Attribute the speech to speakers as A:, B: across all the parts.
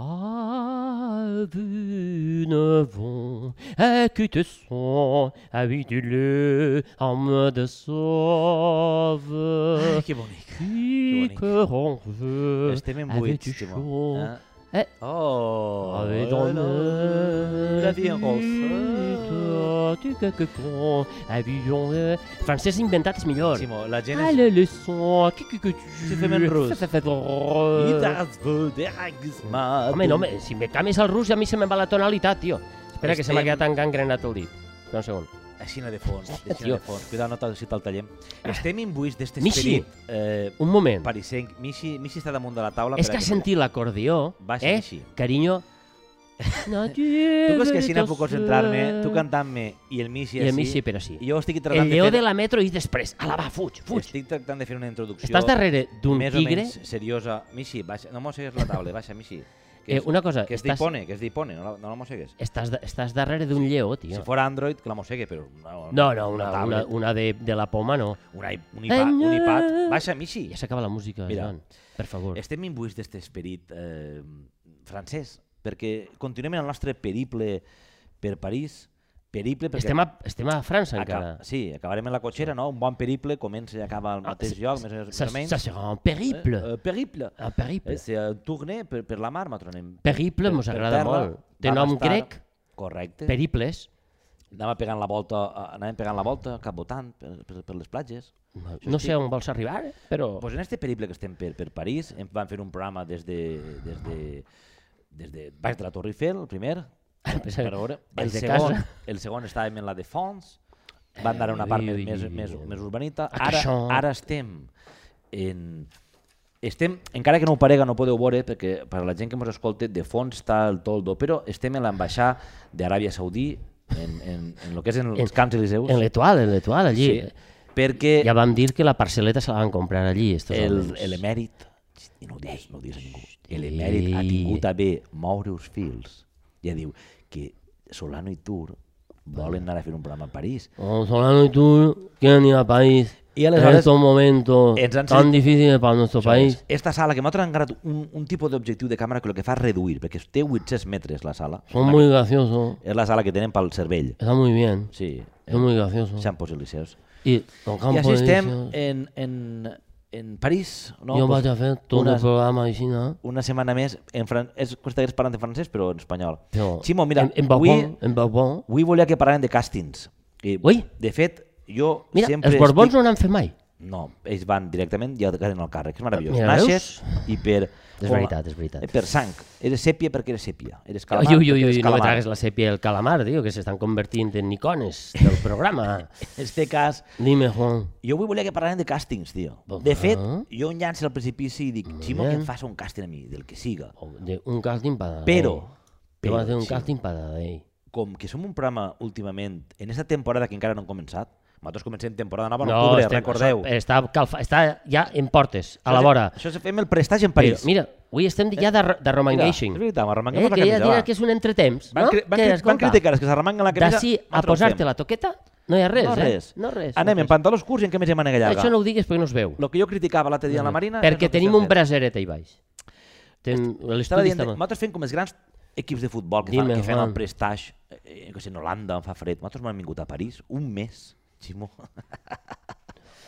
A: Ah, bu ne vont écoute son habitué en mode sauve.
B: que bonic.
A: Qui
B: bonic.
A: que l'on veut
B: Estem en
A: avec
B: buits,
A: du
B: Timó.
A: chaud.
B: Eh?
A: euh, Eh?
B: Oh!
A: Avec dans le
B: La vie en rose.
A: Tu que que con avion. eh. Francès inventat és millor.
B: Simó, la gent
A: Ah,
B: és...
A: le leçon, que que que tu...
B: Si fem en rus.
A: Fa, fa, fa,
B: I
A: fa,
B: t'has vedergismat.
A: Home, no, home, si em cames el rus a mi se me'n va la tonalitat, tio. Espera, que se m'ha
B: Estem-
A: quedat engangrenat el dit. Espera un segon.
B: Així no de fons, així
A: tio.
B: no de fons. Cuidado, no te'l si te'l tallem. Estem imbuïts d'este
A: Ah. Michi.
B: esperit eh,
A: Un moment.
B: parisenc. Michi, Michi està damunt de la taula.
A: És
B: per
A: que
B: a
A: has sentit l'acordió,
B: Baixa,
A: eh?
B: Michi.
A: Carinyo. No,
B: Tu creus que així no puc concentrar-me, tu cantant-me i el Michi
A: I el
B: així,
A: Michi, però sí.
B: i jo estic tratant
A: El lleó
B: de fer...
A: de la metro i després. A la va, fuig, fuig.
B: Estic tractant de fer una introducció
A: Estàs darrere d'un
B: més o
A: tigre?
B: menys seriosa. Michi, baixa, no mossegues la taula, baixa, Michi. Que
A: Eh,
B: és,
A: una cosa,
B: que és
A: estàs,
B: d'Ipone, que és d'Ipone, no, la- no la mossegues.
A: estàs, da- estàs darrere d'un lleó,
B: Si
A: tio.
B: fora Android, que la mossegue, però... No,
A: No, no, una, una,
B: tablet,
A: una de, de la poma no.
B: una i- un, iPad, un iPad. Baixa, Michi.
A: Ja s'acaba la música,
B: Mira.
A: Joan. Per favor.
B: Estem imbuïts d'aquest esperit eh, francès, perquè continuem en el nostre periple per París, periple perquè...
A: Estem a, estem a França encara. Ah,
B: Acab... Sí, acabarem en la cotxera, no? Un bon periple comença i acaba al mateix
A: s-
B: lloc, més o més
A: Ça,
B: o menys.
A: ça sera un periple.
B: Eh, eh, periple.
A: Un
B: Eh,
A: periple.
B: és un tourner per, per la mar, m'atronem.
A: Periple mos
B: per
A: agrada
B: terra,
A: molt. Té
B: vam
A: nom
B: estar-
A: grec,
B: Correcte.
A: periples.
B: Anava pegant la volta, eh, anàvem pegant la volta, cap votant, per, per, per les platges.
A: No sé on vols arribar, però...
B: Pues en este periple que estem per, per París, em van fer un programa des de, des de, des de baix de la Torre Eiffel, el primer,
A: Pensava-
B: per veure. El
A: els de
B: segon,
A: casa. Eh,
B: el segon estàvem en la de Fons, van anar a una
A: ui,
B: part
A: ui,
B: més,
A: ui,
B: més,
A: ui,
B: més,
A: ui.
B: més urbanita.
A: Ah, que
B: Ara,
A: això-
B: ara estem en... Estem, encara que no ho parega, no ho podeu veure, perquè per a la gent que ens escolta, de fons està el toldo, però estem en l'ambaixà d'Aràbia Saudí, en, en, en el que és en els camps Eliseus.
A: En l'Etoile, en l'Etoile, allí.
B: sí, perquè
A: Ja vam dir que la parcel·leta se la van comprar allí, estos
B: el,
A: homes.
B: el emèrit, i no ho dius, no ho dius a ningú, l'emèrit ha tingut a bé moure els fils. Ja diu que Solano i Tur volen anar a fer un programa a París.
A: Oh, Solano y tú quieren ir al país
B: Y a las
A: en
B: horas-
A: estos momentos
B: ens han
A: tan
B: sent-
A: difíciles para nuestro país.
B: Esta sala, que m'ha encarat un, un tipus d'objectiu de càmera que el que fa és reduir, perquè té 800 metres la sala.
A: Son muy graciosos,
B: És la sala que tenen pel cervell.
A: está muy bien,
B: Sí,
A: son muy graciosos.
B: s'han posat liceus.
A: Y los
B: I
A: campos
B: així estem
A: elíseos,
B: en, en, en París. No?
A: yo
B: Pues
A: voy a hacer todo
B: unes-
A: el programa de China.
B: una setmana més, en fran... és costa que parlant en francès, però en espanyol.
A: Pero
B: Ximo, mira,
A: en, en
B: avui,
A: Borbón, en Borbón.
B: avui volia que parlàvem de càstings. I,
A: Ui.
B: De fet, jo
A: Mira,
B: sempre...
A: els Borbons no n'han fet mai.
B: No, ells van directament i acaben al càrrec, és meravellós.
A: Mira,
B: Naixes i per...
A: És veritat, és veritat.
B: Per sang. Eres sèpia perquè eres sèpia. Eres
A: Ui,
B: calamar
A: ui, ui,
B: perquè eres
A: ui, no me
B: calamar.
A: tragues la sepia del calamar, tío, que se están convirtiendo en icones del programa.
B: En este cas,
A: Dime, Juan.
B: jo avui volia que parlàvem de càstings, tio.
A: Bon-
B: De fet,
A: Ah.
B: jo em llanço al precipici i dic, Ximo, que em fas un càsting a mi, del que siga.
A: O Oh, de- un casting eh? para...
B: Però,
A: Yo voy a hacer un
B: Ximo,
A: casting eh? para... Dei.
B: com que som un programa últimament, en aquesta temporada que encara no hem començat, nosaltres comencem temporada nova en
A: No,
B: octubre,
A: estem-
B: recordeu.
A: això- Està, calfa, està ja en portes, a la
B: Això-
A: vora.
B: Això se fem el prestatge en
A: Però,
B: París.
A: mira, avui estem ja de, de romangation.
B: és veritat, m'arremanguem
A: eh,
B: la
A: que ja
B: camisa, va.
A: dirà que és un entretemps,
B: van,
A: no?
B: cri- van,
A: que,
B: cri- van
A: escolta,
B: criticar els que s'arremanquen la camisa.
A: D'ací a
B: nosaltres ho
A: posar-te
B: fem.
A: la toqueta, no hi ha res,
B: no
A: eh?
B: res.
A: No res.
B: Anem
A: no
B: en pantalons curts i en camisa manga llarga.
A: Això no ho digues perquè no es veu.
B: Lo que jo criticava l'altre dia a la Marina... és
A: perquè
B: el que
A: tenim
B: estem
A: un
B: fent.
A: braseret ahí baix. Ten,
B: Estava
A: L'estudi
B: dient,
A: està... mal.
B: nosaltres fem com els grans equips de futbol que, fan,
A: Dime,
B: que fem el
A: Juan.
B: prestatge, eh, que sé, en Holanda, em fa fred. Nosaltres m'hem vingut a París un mes, Ximo,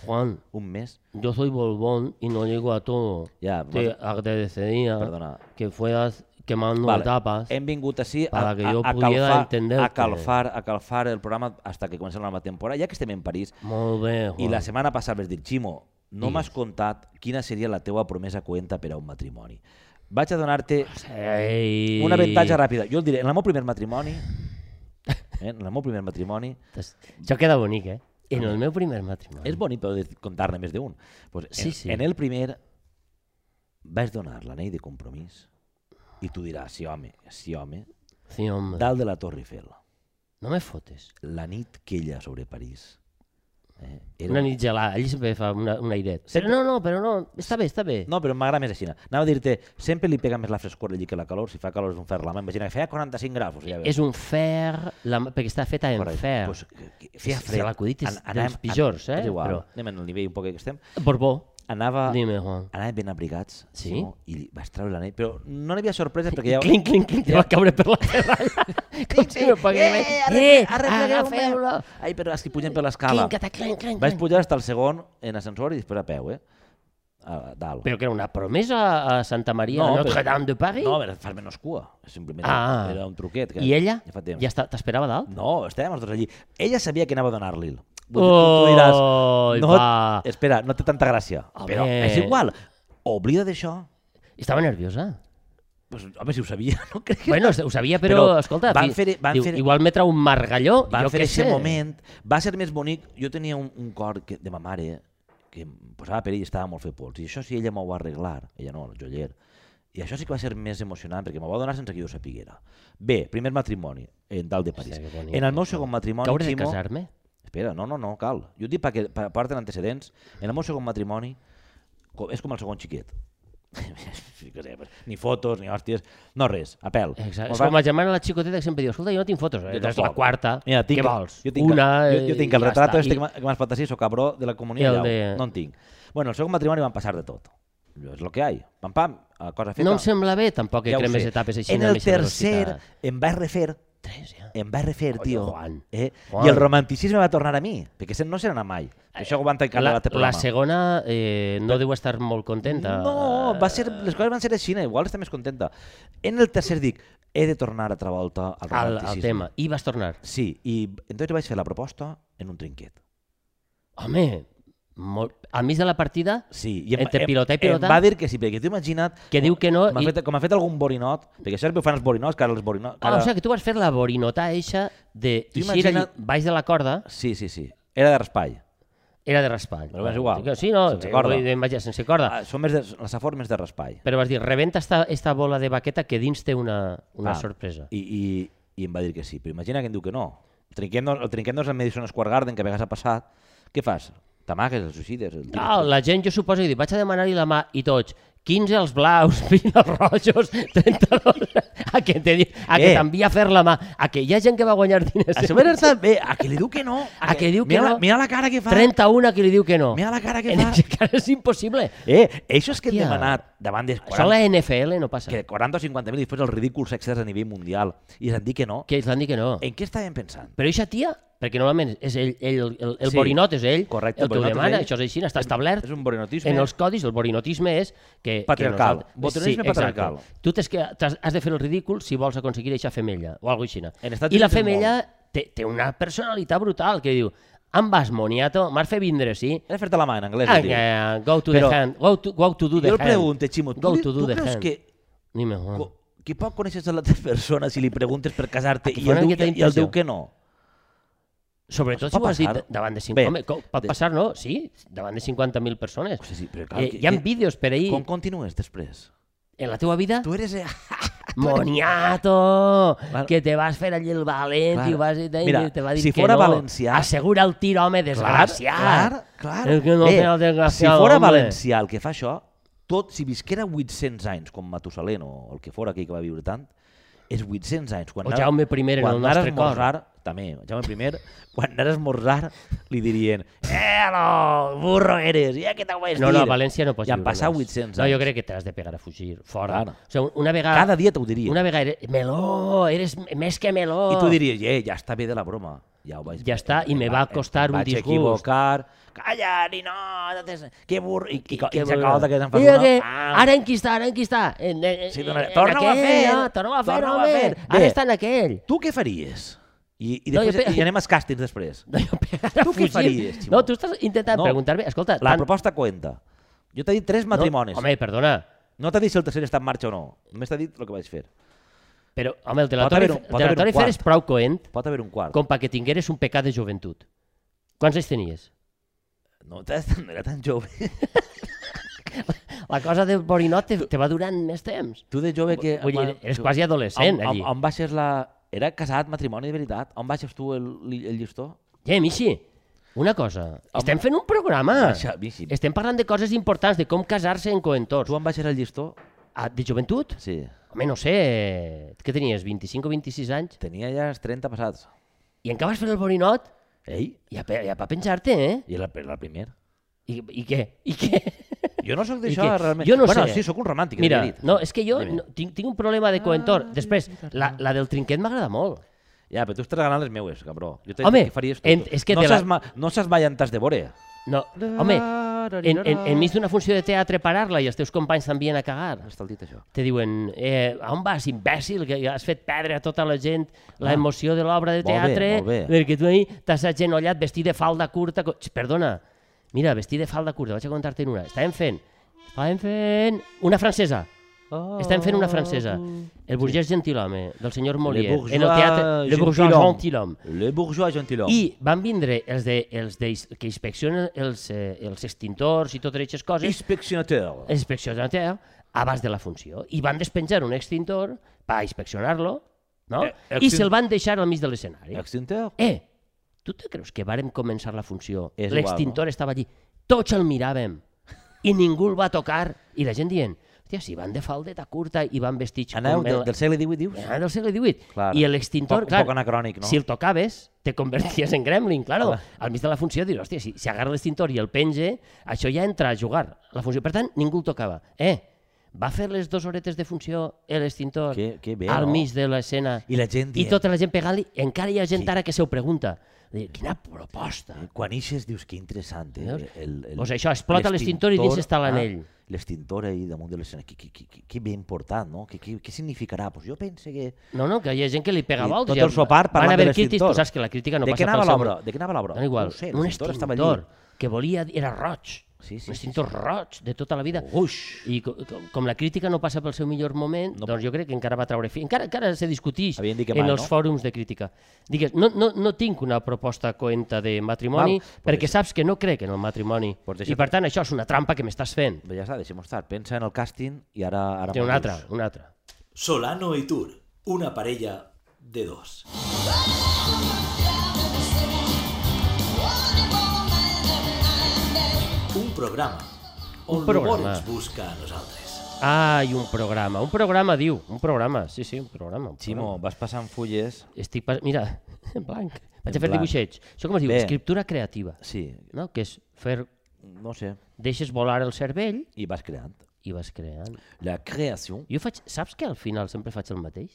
A: Juan,
B: un mes.
A: yo soy Bolbón y no llego a todo.
B: Ja,
A: Te
B: nosaltres-
A: agradecería
B: Perdona. Eh,
A: que fueras quemando etapas.
B: Hem vingut així a,
A: para que
B: a,
A: yo
B: a,
A: pudiera
B: calfar,
A: entenderte.
B: a, calfar, a calfar el programa hasta que comença la nova temporada, ja que estem en París.
A: Molt bé, Juan.
B: I la setmana passada vas dir, Ximo, no m'has contat quina seria la teua promesa coenta per a un matrimoni. Vaig a donar-te
A: Ei.
B: un avantatge ràpida. Jo el diré, en el meu primer matrimoni, eh, en el meu primer matrimoni,
A: Entonces, Això queda bonic, eh? En el meu primer matrimoni.
B: és bonic però he de contar-ne més d'un. Pues en,
A: Sí, sí.
B: en el primer vaig donar l'anell de compromís i tu diràs, sí home, sí home,
A: Sí, home.
B: dalt de la Torre Eiffel,
A: No me fotes.
B: la nit que ella sobre París. Eh, era
A: Una nit gelada, allí sempre fa una, un airet. Però no, no, però no, està bé, està bé.
B: No, però m'agrada més així. Anava a dir-te, sempre li pega més la frescor allí que la calor, si fa calor és un fer la mà. Imagina que feia 45 graus. O sigui,
A: És un fer, la, mà- perquè està feta en
B: Correcte.
A: fer.
B: Pues, que- que feia
A: Si
B: fred.
A: l'acudit és
B: An- anàvem-
A: dels pitjors,
B: an-
A: eh?
B: És igual,
A: Però-
B: anem en el nivell un poc que estem.
A: Borbó.
B: anava,
A: Dime, Juan.
B: anava ben abrigats,
A: Sí?
B: Simó, i li vaig treure l'anell, però no n'hi havia sorpresa perquè ja...
A: Clinc, clinc, clinc, te va caure per la terra. Com si no pagués res. Eh, agafeu-lo.
B: Ai, però és que pugen per l'escala.
A: Clinc, clinc, clinc, clinc.
B: Vaig pujar fins al segon en ascensor i després a peu, eh? A dalt.
A: Però que era una promesa a Santa Maria,
B: No,
A: no, a
B: però-
A: Notre-Dame de Paris?
B: No, a veure, far menys cua. Simplement
A: Ah.
B: era un truquet. Que
A: I ella?
B: Ja fa temps.
A: Ja està- t'esperava dalt?
B: No, estàvem els dos allí. Ella sabia que anava a donar-li'l. Vull dir, tu- tu diràs,
A: Oh,
B: no, eh,
A: va.
B: espera, no té tanta gràcia.
A: A
B: però
A: veure.
B: és igual. Oblida d'això.
A: Estava nerviosa.
B: Pues, home, si ho sabia, no crec que...
A: Bueno, ho sabia, però,
B: Però
A: escolta,
B: van
A: fi-
B: fer- van
A: diu,
B: fer-
A: igual metre un margalló,
B: va
A: jo
B: fer
A: què
B: aquest
A: sé.
B: moment, va ser més bonic. Jo tenia un, un cor que, de ma mare que em posava perill i estava molt fet pols. I això sí, ella m'ho va arreglar, ella no, el joier. I això sí que va ser més emocionant, perquè m'ho va donar sense que jo ho sapiguera. Bé, primer matrimoni, en dalt de París.
A: Hòstia, que bonic,
B: en el meu segon matrimoni,
A: Que hauré de
B: Ximo-
A: casar-me?
B: Espera, no, no, no, cal. Jo et dic perquè per part antecedents, en el meu segon matrimoni co- és com el segon xiquet. Sí que sé, pues, ni fotos, ni hòsties, no res, a pèl.
A: Exacte.
B: Mos
A: És
B: va-
A: com la germana de la xicoteta que sempre diu, escolta, jo no tinc fotos, eh?
B: Jo
A: és la
B: tampoc.
A: quarta,
B: Mira, tinc,
A: què vols?
B: Jo tinc,
A: Una eh,
B: jo, jo tinc el
A: i ja
B: retrat
A: està.
B: este
A: I-
B: que m'ha- que m'has fet així, soc cabró de la
A: I
B: comunió
A: el
B: llau.
A: de-
B: No en tinc. Bueno, el segon matrimoni van passar de tot. És el que hi ha. Pam, pam, a cosa feta.
A: No em sembla bé, tampoc, que
B: ho
A: cremes
B: sé.
A: etapes així.
B: En
A: amb
B: el
A: aquesta
B: tercer
A: velocitat.
B: em vaig refer
A: Tres, ja.
B: em va refer,
A: Oye,
B: tio.
A: eh. Juan,
B: eh?
A: Juan. Eh,
B: I el romanticisme va tornar a mi, perquè se- no serà mai. Això ho van tancar
A: La,
B: a l'altre
A: la
B: programa.
A: segona eh, no deu estar molt contenta. eh,
B: No, va ser, les coses van ser així, eh? igual està més contenta. En el tercer dic, he de tornar a Travolta al
A: al,
B: romanticisme.
A: al tema. I vas tornar.
B: Sí, i entonces vaig fer la proposta en un trinquet.
A: Home, molt... a mig de la partida,
B: Sí, i
A: Entre pilota i pilota?
B: Em va dir que sí, perquè t'ho imagina't...
A: Que diu que no
B: Com ha
A: i-
B: fet, com ha fet algun borinot, perquè això ho fan els borinots, que ara els borinots...
A: ah, o sigui que tu vas fer la borinota eixa de
B: Tu
A: eixir allà
B: imagina't-
A: baix de la corda,
B: Sí, sí, sí. Era de raspall.
A: era de raspall.
B: Però és igual,
A: Sí, no,
B: sense corda.
A: vull dir, vaja, sense corda.
B: Ah, són més de, les afor més de raspall.
A: Però vas dir, rebenta esta, esta bola de baqueta que dins té una, una
B: Ah,
A: sorpresa.
B: I, i, I em va dir que sí, però imagina que em diu que no. El trinquet no, el trinquet no és el Madison Square Garden que a vegades ha passat. Què fas? T'amagues, el suïcides? El... tires?
A: Ah, la gent, jo suposo, que diu, vaig a demanar-hi la mà i tots, 15 els blaus, 20 els rojos, 32... A que t'he dit, a que
B: Eh.
A: t'envia a fer la mà, a que hi ha gent que va guanyar diners.
B: A sobre està bé, a que li diu que no.
A: A que diu que
B: mira
A: no.
B: La, mira la cara que fa.
A: 31 que li diu que no.
B: Mira la cara que
A: En
B: fa.
A: aquest cas és impossible.
B: Eh, això és que hem
A: Hòstia.
B: demanat davant dels
A: Això a
B: 40,
A: la NFL no passa.
B: que 40 o 50 mil després el ridícul sexes a nivell mundial i ens han dit que no.
A: Que ells van dir que no.
B: En què estàvem pensant?
A: Però eixa tia, perquè normalment és ell, ell el, el
B: Sí.
A: borinot és ell,
B: Correcte, el
A: el que ho
B: borinot és
A: demana,
B: ell.
A: això és així, està establert.
B: És un borinotisme.
A: En els codis, el borinotisme és que...
B: Patriarcal.
A: Que nosaltres-
B: Borinotisme
A: exacte.
B: patriarcal.
A: Tu tens que, t'has- has de fer el ridícul si vols aconseguir eixa femella, o alguna cosa així.
B: En Estats
A: I la
B: Units és
A: femella té, té una personalitat brutal, que diu, em vas, moniato, m'has fet vindre, sí?
B: He de fer-te la mà en anglès.
A: Ah,
B: es diu.
A: que- go to
B: Però-
A: the hand, go to, go to do the
B: jo
A: hand.
B: el pregunte, Ximo, tu,
A: Go
B: li-
A: to do
B: tu Ah.
A: the
B: creus
A: hand.
B: que,
A: Dime, Juan.
B: co- que poc coneixes a l'altra persona si li preguntes per casar-te
A: Aquí
B: i,
A: fa una
B: el diu
A: miqueta
B: Ah, que- i el
A: d'impressió.
B: diu que no?
A: Sobretot si
B: Pot
A: ho has dit
B: passar.
A: davant de 50...
B: Bé.
A: Home, co- pot
B: De-
A: passar, no? Sí, davant de 50.000 persones.
B: O sigui, sí, però clar,
A: Eh,
B: que-
A: hi ha
B: que-
A: vídeos per ahir.
B: Com continues després?
A: En la teva vida,
B: Tu eres... eh,
A: moniato,
B: Clar.
A: que te vas fer allí el valent
B: Clar.
A: i vas i te-
B: Mira,
A: i te va dir
B: si
A: que
B: fora
A: no.
B: valencià-
A: Assegura el tir, home, desgraciat.
B: Clar, clar.
A: És que no
B: Bé,
A: té el
B: si
A: desgraciat,
B: fora
A: home.
B: valencià el que fa això, tot, si visquera 800 anys, com Matusalén o el que fora aquell que va viure tant, és 800 anys. Quan
A: O
B: anar-
A: Jaume I en
B: quan
A: el
B: anar a
A: nostre cor.
B: esmorzar, també, Jaume I, quan anar a esmorzar, li dirien
A: Eh, no, burro eres, ja que t'ho vaig No, no,
B: dir.
A: a València no pots
B: Ja han
A: viure
B: passat
A: més.
B: 800
A: No, jo
B: anys.
A: crec que t'has de pegar a fugir, fora.
B: Clar.
A: O sigui, una vegada...
B: cada dia t'ho diria.
A: Una vegada eres... Meló, eres més que meló.
B: I tu diries, eh, ja està bé de la broma. Ja ho vaig
A: Oh. Ja està, i me va costar
B: em
A: un
B: vaig
A: disgust.
B: equivocar. Calla, ni no, no tens... Que burro. I, i, i, i,
A: Què
B: i
A: vol?
B: s'acaba que se'n fa
A: Mira
B: una...
A: que
B: Ah,
A: Ara en qui està, ara en qui està. En, en,
B: Sí, dona-
A: en
B: torna-ho a
A: eh, aquell,
B: fer,
A: no? Torna-ho a fer,
B: torna-ho a
A: home. eh.
B: fer. Bé.
A: Ara està en aquell.
B: Tu què faries? I, i,
A: No, jo
B: després,
A: pe-
B: i anem als càstings després.
A: No, jo pegaré a
B: Tu què
A: fugir.
B: faries, Ximo?
A: No, tu estàs intentant
B: No.
A: preguntar-me... Escolta,
B: La proposta cuenta. Jo t'he dit tres matrimonis.
A: No,
B: No,
A: home, perdona.
B: t'ha dit si el tercer està en marxa o no. Només t'ha dit el que vaig fer.
A: Però, home, el de la
B: Pot
A: Torre,
B: haver un- pot
A: de la
B: haver un
A: Torre Fer és
B: quart.
A: prou coent
B: Pot haver un quart.
A: com perquè tingueres un pecat de joventut. Quants anys tenies?
B: No, t'has- no era tan jove.
A: La cosa de Borinot te, te va durant més temps.
B: Tu de jove que...
A: Vull dir, eres quasi
B: on,
A: adolescent,
B: on,
A: allí.
B: on baixes la... Era casat, matrimoni, de veritat. On baixes tu el, el llistó?
A: Ja, Michi, una cosa. Estem fent un programa.
B: Baixa, bici.
A: Estem parlant de coses importants, de com casar-se en coentors.
B: Tu on baixes el llistó?
A: Ah, de joventut?
B: Sí.
A: Home, no sé, què tenies, 25 o 26 anys?
B: Tenia ja els 30 passats.
A: I encara vas fer el borinot?
B: Ei?
A: Ja, pe- ja va penjar-te, eh?
B: I era el, era el primer.
A: I, I què? I què?
B: Jo no sóc
A: I
B: d'això,
A: que-
B: realment.
A: jo no
B: bueno,
A: sé.
B: sí, sóc un romàntic,
A: Mira,
B: he dit.
A: no, és que jo
B: Dime.
A: no, tinc, tinc un problema de coentor. Després, la, la del trinquet m'agrada molt.
B: Ja, però tu estàs regalant les meues, cabró. Jo t'he dit
A: Home,
B: que faries tu.
A: en- és que
B: no
A: te la-
B: saps ma... no saps mai entas de vore.
A: No, home, en, en, enmig d'una funció de teatre parar-la i els teus companys t'envien a cagar.
B: Està el dit, això.
A: Te diuen, eh, a on vas, imbècil, que has fet perdre a tota la gent la
B: Ah.
A: emoció de l'obra de
B: Molt bé,
A: teatre,
B: molt bé.
A: perquè tu ahir t'has agenollat vestit de falda curta... co- Xt, Perdona, mira, vestit de falda curta, vaig a contar-te una. Estàvem fent, estàvem fent una francesa.
B: Oh.
A: Estem fent una francesa. El burgès gentilhome, del senyor Molière,
B: bourgeois
A: en el teatre... Le bourgeois
B: gentilhomme.
A: gentilhomme.
B: Le bourgeois gentilhomme.
A: I van vindre els, de, els de, que inspeccionen els, eh, els extintors i totes aquestes coses
B: Inspeccionateur.
A: els inspeccionateurs abans de la funció i van despenjar un extintor per inspeccionar-lo no?
B: Eh, extin-
A: i se'l van deixar al mig de l'escenari.
B: Extinteur.
A: Eh, tu te creus que vàrem començar la funció?
B: És
A: L'extintor estava allí, tots el miràvem i ningú el va tocar i la gent dient, hòstia, si van de faldeta curta i van vestits
B: Aneu
A: com...
B: de,
A: el-
B: del segle XVIII, dius?
A: Aneu del segle XVIII.
B: Clar.
A: I
B: Un
A: l'extintor,
B: poc-
A: clar,
B: Un poc anacrònic, no?
A: si el tocaves, te converties en gremlin, claro.
B: Clar.
A: Al mig de la funció dius, hòstia, si, si agarra l'extintor i el penge, això ja entra a jugar. La funció, per tant, ningú el tocava. Eh, va fer les dues horetes de funció eh, l'extintor
B: Que- que bé,
A: al
B: no?
A: mig de l'escena
B: I la gent
A: i
B: dient,
A: tota la gent pegant-li, encara hi ha gent ara que se ho pregunta. Dir, Quina proposta!
B: quan ixes dius que interessant. Eh?
A: Veus?
B: El, el,
A: O sigui, això, explota l'extintor i dins està l'anell.
B: Ah, l'extintor ahí damunt de l'escenari, que, que, que, que, que bé important, no? Que, que, què significarà? Pues jo penso que...
A: No, no, que hi ha gent que li pega
B: I
A: voltes.
B: tot
A: ja-
B: el sopar
A: Van
B: parlant de
A: haver
B: l'extintor.
A: crítics, tu saps que la crítica no
B: de què
A: passa pel
B: anava
A: seu...
B: l'obra? De què anava l'obra?
A: Dona igual,
B: No ho sé,
A: un
B: l'extintor estava allí.
A: extintor que volia, era roig,
B: Sí, sí,
A: un
B: sí,
A: extintor roig de tota la vida.
B: Uix!
A: I co- co- com la crítica no passa pel seu millor moment,
B: No.
A: doncs jo crec que encara va traure fi. Encara, encara se discutix
B: Havien dit que
A: en
B: mal,
A: els
B: no?
A: fòrums de crítica. Digues, no, no, no tinc una proposta coenta de matrimoni
B: Val, doncs
A: perquè
B: deixa-
A: saps que no crec en el matrimoni.
B: Doncs deixa-
A: I per tant això és una trampa que m'estàs fent.
B: Però ja està, deixem estar. Pensa en el càsting i ara... ara
A: Té
B: m'ho
A: una altra,
B: dius.
A: una altra.
C: Solano y Tour, una parella de dos. Un programa on
A: programa.
C: l'humor ens busca a nosaltres.
A: Ai, un programa. Un programa, diu. Un programa. Sí, sí, un programa. Un
B: Ximo,
A: programa.
B: vas passant fulles...
A: Estic pas... Mira, en blanc. Vaig a
B: En
A: fer
B: blanc.
A: dibuixets. Això com es diu?
B: Bé.
A: Escriptura creativa.
B: Sí,
A: No? Que és fer...
B: no sé.
A: Deixes volar el cervell
B: I vas creant.
A: i vas creant.
B: La creació...
A: Jo faig... Saps que al final sempre faig el mateix?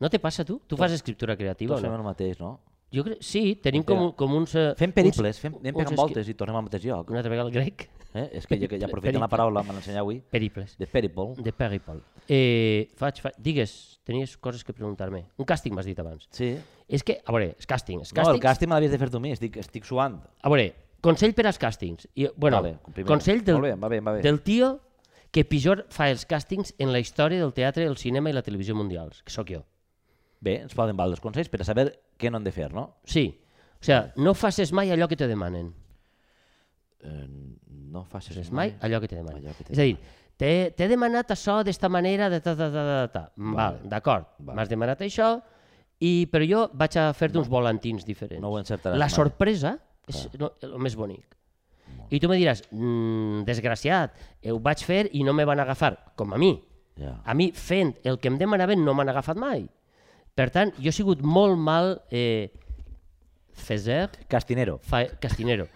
A: No te passa a tu? Tu fas escriptura creativa o
B: Tots fem
A: no?
B: el mateix, no?
A: Jo crec... Sí, tenim com, un- com uns... eh,
B: Fem
A: uns-
B: periples, fem, anem
A: uns
B: pegant
A: esqui-
B: voltes i tornem al mateix lloc.
A: Una altra vegada el grec.
B: Eh? És que ja, que ja aprofitant
A: Periple.
B: la paraula, me l'ensenyeu avui,
A: Periples.
B: de periple.
A: De peripol. Eh, faig, faig... Digues, tenies coses que preguntar-me. Un càsting m'has dit abans.
B: Sí.
A: És que, a veure, és càsting. És
B: No, el
A: càsting
B: càsting me l'havies de fer tu a mi, estic, estic suant.
A: A veure, consell per als càstings. I, bueno,
B: Vale, primer.
A: consell del,
B: Molt bé, va bé, va bé.
A: del tio que pitjor fa els càstings en la història del teatre, el cinema i la televisió mundials, que sóc jo.
B: Bé, ens poden valdre els consells per a saber què no hem de fer, no?
A: Sí. O sigui, no facis mai allò que te demanen.
B: Eh, no facis
A: Facis mai allò que te demanen.
B: Allò que te
A: És a dir, t'he t'he demanat això d'esta manera, de ta, ta, ta, ta, ta. Val, d'acord,
B: Vale.
A: m'has demanat això, i, però jo vaig a fer-te uns volantins diferents.
B: No ho encertaràs
A: La
B: mai.
A: sorpresa és no, el més bonic. I tu me diràs, mmm, desgraciat, eh, ho vaig fer i no me van agafar, com a mi.
B: Ja.
A: A mi, fent el que em demanaven, no m'han agafat mai. Per tant, jo he sigut molt mal eh, feser,
B: Castinero.
A: fa, castinero.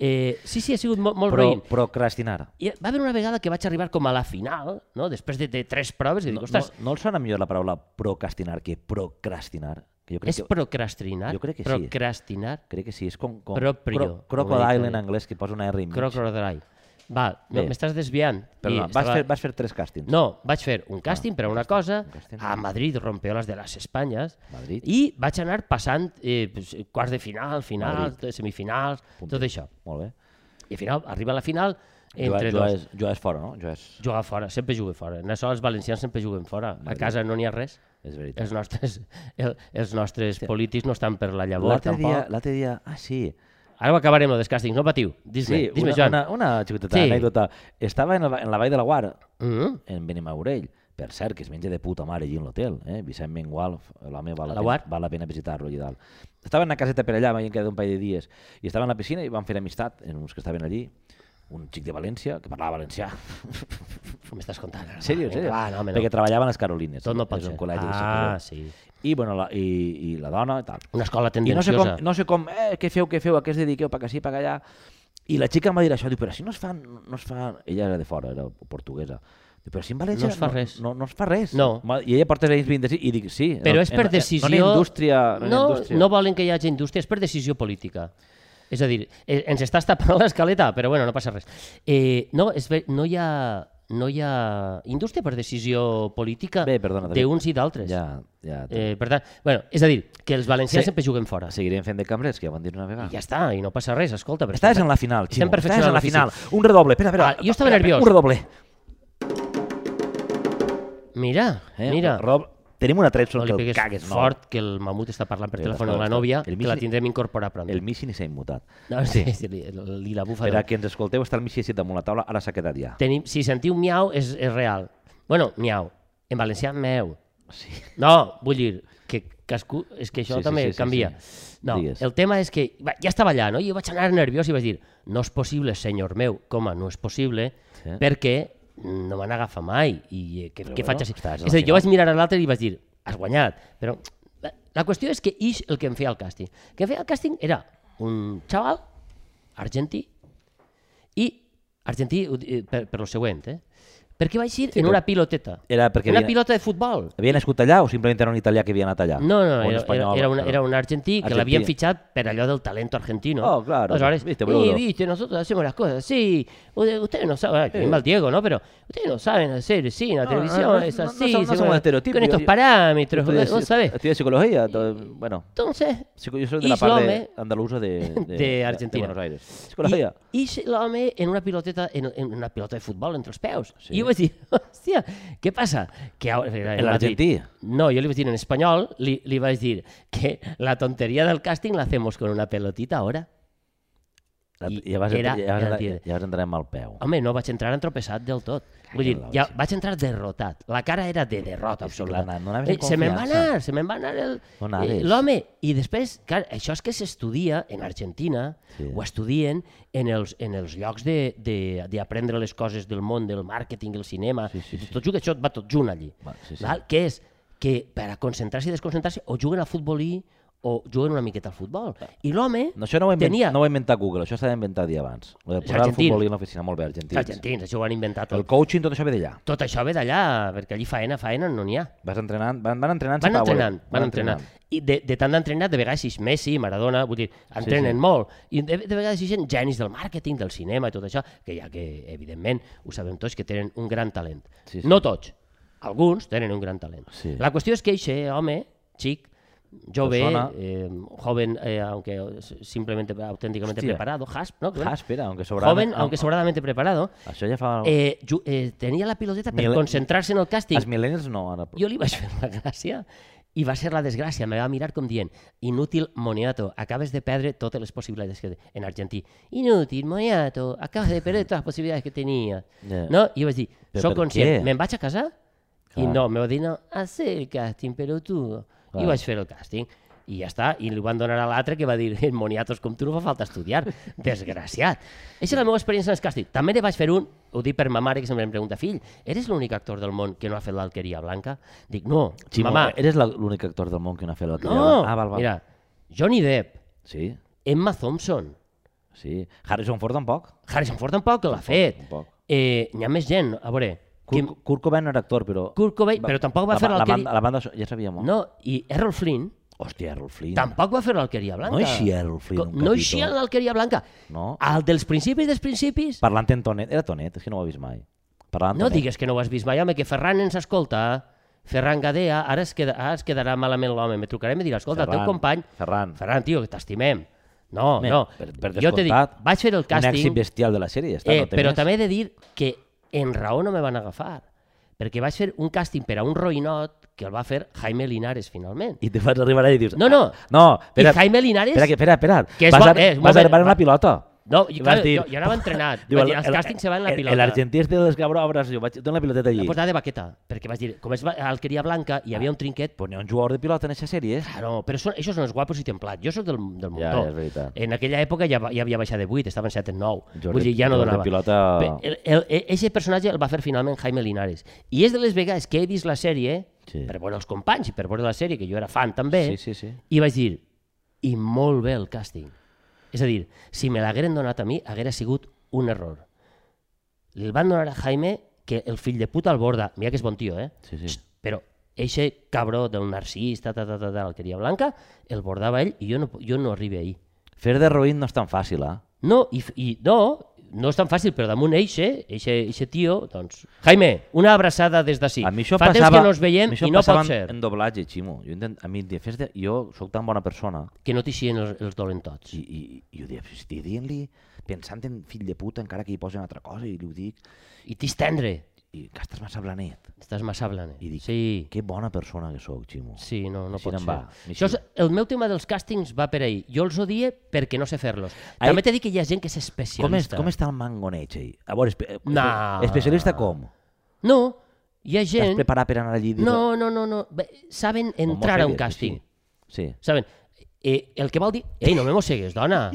A: Eh, sí, sí, he sigut molt, molt
B: Pro,
A: roïn.
B: procrastinar.
A: I va haver una vegada que vaig arribar com a la final, no? després de, de tres proves, i dic,
B: No, no,
A: ostres,
B: no els sona millor la paraula procrastinar que procrastinar? Que jo crec
A: és
B: que...
A: procrastinar?
B: jo crec que sí.
A: procrastinar?
B: Crec que sí, és com... com
A: Proprio,
B: cro-
A: ho he dit
B: crocodile
A: bé.
B: en anglès que posa una R i mig.
A: Crocodile. Va, no,
B: Bé.
A: m'estàs desviant. I
B: Perdona, vas,
A: estava-
B: fer, vas fer tres càstings.
A: No, vaig fer un càsting per a una cosa,
B: un càsting.
A: a Madrid, Rompeolas de les Espanyes,
B: Madrid.
A: i vaig anar passant eh, pues, quarts de final, final, semifinals, tot això.
B: Molt bé.
A: I al final arriba la final entre
B: jo, jo
A: dos.
B: És, jo és fora, no? Jo és...
A: Jugar fora, sempre jugo fora. En això els valencians sempre juguen fora. A casa no n'hi ha res.
B: És veritat.
A: Els nostres, el, els nostres polítics no estan per la llavor,
B: L'altre dia,
A: tampoc.
B: l'altre dia... Ah, sí.
A: Ara ho acabarem, el dels càstings, no patiu. Dis-me,
B: Sí,
A: dis-me,
B: una,
A: Joan.
B: una, una xicoteta
A: Sí.
B: sí. anècdota. Estava en, la, en la Vall de la Guard,
A: Mhm.
B: en Benimaurell, per cert, que es menja de puta mare allí en l'hotel, eh? Vicent Mengual, l'home val,
A: A la
B: la pena,
A: Guard?
B: val la pena visitar-lo allà dalt. Estava en una caseta per allà, m'havien quedat un parell de dies, i estava en la piscina i van fer amistat, en uns que estaven allí, un xic de València, que parlava valencià,
A: Què M'estàs contant. ara?
B: en sèrio, en
A: Vinga,
B: sèrio,
A: Ah, Va, no, home, no.
B: perquè treballava a les Carolines,
A: Tot no pot
B: és
A: ser.
B: un col·legi de
A: Ah,
B: Sacagawea.
A: sí.
B: i, bueno, la, i, i la dona i tal.
A: Una escola
B: I no sé
A: tendenciosa.
B: com, no sé com eh, què feu, què feu, a què es dediqueu, per que sí, per allà. I la xica em va dir això, diu, però si no es fa... No es fa... Ella era de fora, era portuguesa. Diu, però si en València...
A: No es fa res.
B: No, no, es fa res.
A: No.
B: Ma- I ella porta anys 26 i dic, sí.
A: Però
B: no,
A: és per
B: en- en-
A: decisió...
B: No hi ha indústria.
A: No,
B: No, hi ha indústria.
A: no volen que hi hagi indústria, és per decisió política. És a dir, eh, ens estàs tapant l'escaleta, però bueno, no passa res. Eh, no, és ver, no hi ha no hi ha indústria per decisió política
B: Bé, perdona, David.
A: d'uns i d'altres.
B: Ja, ja.
A: Eh, per tant, bueno, és a dir, que els valencians
B: Sí.
A: sempre juguen fora.
B: Seguirem fent de cambrers, que ja van dir una vegada.
A: I ja està, i no passa res, escolta. Però
B: Estàs en la final, Ximo. Estàs
A: perfeccionant
B: en la
A: l'ofici.
B: final. Un redoble, espera, espera.
A: Ah, jo estava
B: Espera,
A: nerviós.
B: Un redoble.
A: Mira,
B: Eh?
A: mira.
B: Rob, tenim una tretxa
A: No li
B: que el
A: pegues
B: cagues no.
A: fort, que el mamut està parlant per
B: Sí,
A: telèfon
B: està,
A: amb la
B: està.
A: nòvia,
B: El
A: que la
B: Michi-
A: tindrem incorporada pront.
B: El Missi ni s'ha immutat.
A: No, sí, sí, li, li la bufa.
B: Per
A: de-
B: a qui ens escolteu, està el Missi així damunt la taula, ara s'ha quedat ja.
A: Tenim, si sentiu miau, és, és real. Bueno, miau. En valencià, meu.
B: Sí.
A: No, vull dir que cascú... És que això
B: Sí, sí,
A: sí, també
B: sí,
A: sí,
B: sí,
A: sí, canvia.
B: sí.
A: No,
B: Digues.
A: el tema és que va, ja estava allà, no? I jo vaig anar nerviós i vaig dir no és possible, senyor meu, com a no és possible,
B: Sí.
A: sí. perquè no me n'agafa mai. I eh, què, què
B: Però bueno,
A: faig així?
B: estàs a la
A: És a dir,
B: final.
A: jo vaig mirar a l'altre i vaig dir has guanyat, però... La, la qüestió és que ix el que em feia el càsting. El que em feia el càsting era un xaval argentí i argentí ho di- eh, per, per lo següent, eh? Perquè vaig ir sí, en
B: però-
A: una piloteta.
B: Era perquè
A: una
B: havia-
A: pilota de futbol.
B: Havia nascut allà o simplement era un italià que havia anat allà?
A: No, no,
B: O un
A: era, era,
B: espanyol,
A: era, un,
B: però-
A: era un argentí que
B: Argentí.
A: l'havien fitxat per allò del talento argentino.
B: Oh, claro.
A: Aleshores,
B: Viste,
A: viste,
B: boludo.
A: viste, nosotros hacemos las cosas, sí. Ude- Ustedes no saben, ah, que mal Diego, ¿no? Pero ustedes no saben hacer cine, la
B: No,
A: televisión
B: no, no,
A: es
B: no, no
A: así.
B: somos- no
A: se-
B: somos estereotipos,
A: Con estos
B: yo-
A: parámetros,
B: Estudié-
A: vos sabés.
B: Estudié psicología, todo- bueno,
A: Entonces,
B: psico- yo soy de la part de
A: Islame.
B: andalusa de,
A: De Argentina.
B: Buenos Aires. Psicología.
A: I, i l'home en una piloteta, en, en una pilota de futbol entre els peus. Sí.
B: Sí.
A: I jo vaig dir, hòstia, què passa? Que ara- era en
B: El
A: Madrid.
B: argentí.
A: No, jo li vaig dir en espanyol, li, li vaig dir que la tonteria del càsting la hacemos con una pelotita ahora.
B: La-
A: i
B: ja, vas
A: era
B: entrar, ja, vas entrar,
A: argentí.
B: ja vas entrar amb el peu.
A: Home, no vaig entrar entropeçat del tot. Vull dir,
B: Cago en la
A: ja
B: hòstia.
A: vaig entrar derrotat. La cara era de derrota
B: És que
A: absoluta. Eh,
B: clar, no anaves amb
A: se me'n va
B: confiança.
A: anar, se me'n va anar el-
B: No anaves.
A: eh, l'home. I després, clar, això és que s'estudia en Argentina,
B: Sí.
A: sí. ho estudien en els, en els llocs de- de- d'aprendre les coses del món, del màrqueting, el cinema,
B: Sí, sí, sí.
A: tot junt, això va tot junt allí.
B: Va, sí, sí.
A: Val? Que és que per a concentrar-se i desconcentrar-se o juguen a futbolí o juguen una miqueta al futbol. I l'home
B: No, això no ho, invent,
A: tenia...
B: no ho va inventar Google, això s'ha d'inventar dia abans. Ho de posar el
A: argentins.
B: futbol a l'oficina, molt bé, argentins.
A: els argentins, això ho han inventat.
B: El coaching, tot això ve d'allà.
A: Tot això ve d'allà, perquè allí faena, faena no n'hi ha.
B: Vas entrenant, van, van entrenant.
A: Van entrenant, van entrenant. I de, de tant d'entrenar, de vegades és Messi, Maradona, vull dir, entrenen
B: sí.
A: sí, sí. molt. I de, de vegades hi ha genis del màrqueting, del cinema i tot això, que ja que, evidentment, ho sabem tots, que tenen un gran talent.
B: Sí,
A: Sí,
B: sí.
A: sí. No tots, alguns tenen un gran talent.
B: Sí.
A: La qüestió és que eixe home, xic, jove,
B: Persona.
A: eh, joven, eh, aunque simplemente auténticamente
B: Hòstia.
A: preparado, hasp, ¿no?
B: Ah, espera, aunque sobrava...
A: joven, aunque sobradamente preparado,
B: Això ja fa...
A: eh,
B: Eh,
A: ju- eh, tenia la piloteta per
B: Mil-
A: concentrar-se en el càsting
B: Els millennials no, ara.
A: jo li vaig fer la gràcia i va ser la desgràcia, me va mirar com dient inútil moniato, acabes de perdre totes les possibilitats que en argentí inútil moniato, acabes de perdre totes les possibilitats que tenia
B: Ja.
A: no? i jo vaig dir,
B: Però
A: sóc
B: per
A: conscient
B: què?
A: me'n vaig a casa? i
B: Clar.
A: no, me va dir no, a fer el càsting però tu
B: Clar.
A: i vaig fer el càsting i ja està, i li van donar a l'altre que va dir en moniatos com tu no fa falta estudiar desgraciat, aquesta és la meva experiència en el càsting també ne vaig fer un, ho dic per ma mare que sempre em pregunta, fill, eres l'únic actor del món que no ha fet l'alqueria blanca? dic, no,
B: Ximo,
A: mamà,
B: eh, eres la- l'únic actor del món que no ha fet la
A: no,
B: Ah, val, val.
A: mira Johnny Depp,
B: Sí,
A: Emma Thompson
B: sí. Harrison Ford tampoc.
A: Harrison Ford tampoc que l'ha fet
B: Tampoc.
A: eh, n'hi ha més gent, a veure
B: Kurt,
A: Kim-
B: Kurt Cobain no era actor, però...
A: Kurt Cobain, però tampoc va
B: la,
A: fer
B: la,
A: l'alqueria
B: banda, la banda, so- ja sabia molt.
A: No, i Errol Flynn
B: Hòstia, Errol Flynn.
A: tampoc va fer l'Alqueria Blanca.
B: No eixia Errol Flynn
A: Co-
B: un
A: No
B: capítol.
A: eixia en l'Alqueria Blanca.
B: No.
A: Al dels principis dels principis.
B: Parlant en Tonet. Era Tonet, és que no ho he vist mai. Parlant
A: No digues que no ho has vist mai, home, que Ferran ens escolta. Ferran Gadea, ara es, queda, ara es quedarà malament l'home. Me trucaré i me dirà, escolta, el teu company...
B: Ferran.
A: Ferran, tio, que t'estimem. No,
B: Home,
A: no.
B: Per, per
A: jo te dic,
B: descomptat,
A: vaig fer el
B: Un èxit
A: càsting,
B: bestial de la sèrie. Ja està,
A: eh,
B: no té
A: però
B: més.
A: també he de dir que en raó no me van agafar. Perquè vaig fer un càsting per a un roïnot que el va fer Jaime Linares, finalment.
B: I te vas arribar allà i dius...
A: No, no.
B: "Ah, No, espera,
A: I Jaime Linares...
B: espera, que- espera, espera.
A: Que es
B: vas
A: va-
B: a,
A: eh, un
B: vas
A: moment,
B: a arribar amb
A: va-
B: la pilota.
A: No, i,
B: I
A: clar,
B: vas dir-
A: jo, jo anava entrenat.
B: Diu,
A: Diu, dir, els càstings se van en la pilota.
B: L'argentí és de les cabrovres. Jo vaig donar la piloteta allí.
A: Em posava de baqueta, perquè vaig dir, com és alqueria blanca, hi havia un trinquet,
B: Ponia un jugador de pilota en aquesta sèrie. eh?
A: Ah, no, però són, això són els guapos i templats. Jo sóc del, del
B: Ja,
A: muntó.
B: és veritat.
A: en aquella època ja, va- ja havia baixat de 8, estava en 7 en 9.
B: Jordi-
A: Vull dir, ja no
B: Jordi
A: donava.
B: Pilota-
A: Pe- El, el, e- eixe personatge el va fer finalment Jaime Linares. I és de les vegades que he vist la sèrie,
B: Sí.
A: sí. per veure els companys i per veure la sèrie, que jo era fan també,
B: Sí, sí, sí.
A: i vaig dir, i molt bé el càsting. És a dir, si me l'hagueren donat a mi, haguera sigut un error. El van donar a Jaime, que el fill de puta el borda. Mira que és bon tio, eh?
B: Sí, sí.
A: Però eixe cabró del narcís, ta, ta, ta, ta, ta, el queria blanca, el bordava ell i jo no, jo no arribo ahir.
B: Fer de roïn no és tan fàcil, eh?
A: No, i, f- i no, no és tan fàcil, però damunt eixe, eixe, eixe tio, doncs... Jaime, una abraçada des d'ací.
B: A mi això
A: Fa
B: passava...
A: temps que no ens
B: a
A: veiem
B: mi això
A: i no
B: passava
A: pot
B: en-
A: ser.
B: en doblatge, Ximo. Jo, intent, a mi em deia, "Fes de... jo sóc tan bona persona
A: Que no t'hi siguin els, els dolentots.
B: i, i, i ho deia, estic dient-li, pensant en fill de puta, encara que hi posen altra cosa, i li ho dic,
A: I t'hi estendre.
B: i que estàs massa blanet.
A: Estàs massa blanet.
B: I dic,
A: Sí,
B: Que bona persona que sóc, Ximo.
A: sí, no, no
B: Així
A: pot
B: no em
A: ser.
B: va,
A: Això és,
B: així.
A: el meu tema dels càstings va per ahir. Jo els odie perquè no sé fer-los.
B: Ahir-
A: També t'he dit que hi ha gent que és especialista.
B: Com, és, com està el mangoneig, ell? A veure, espe espe-
A: No.
B: especialista com?
A: No, hi ha
B: T'has
A: gent...
B: preparat per anar allí? i dir-lo?
A: No, no, no, no. Bé, Saben
B: Com
A: entrar a un
B: Mosegues,
A: càsting.
B: Sí. sí.
A: Saben, eh, el que vol dir... Ei, no me mossegues, dona.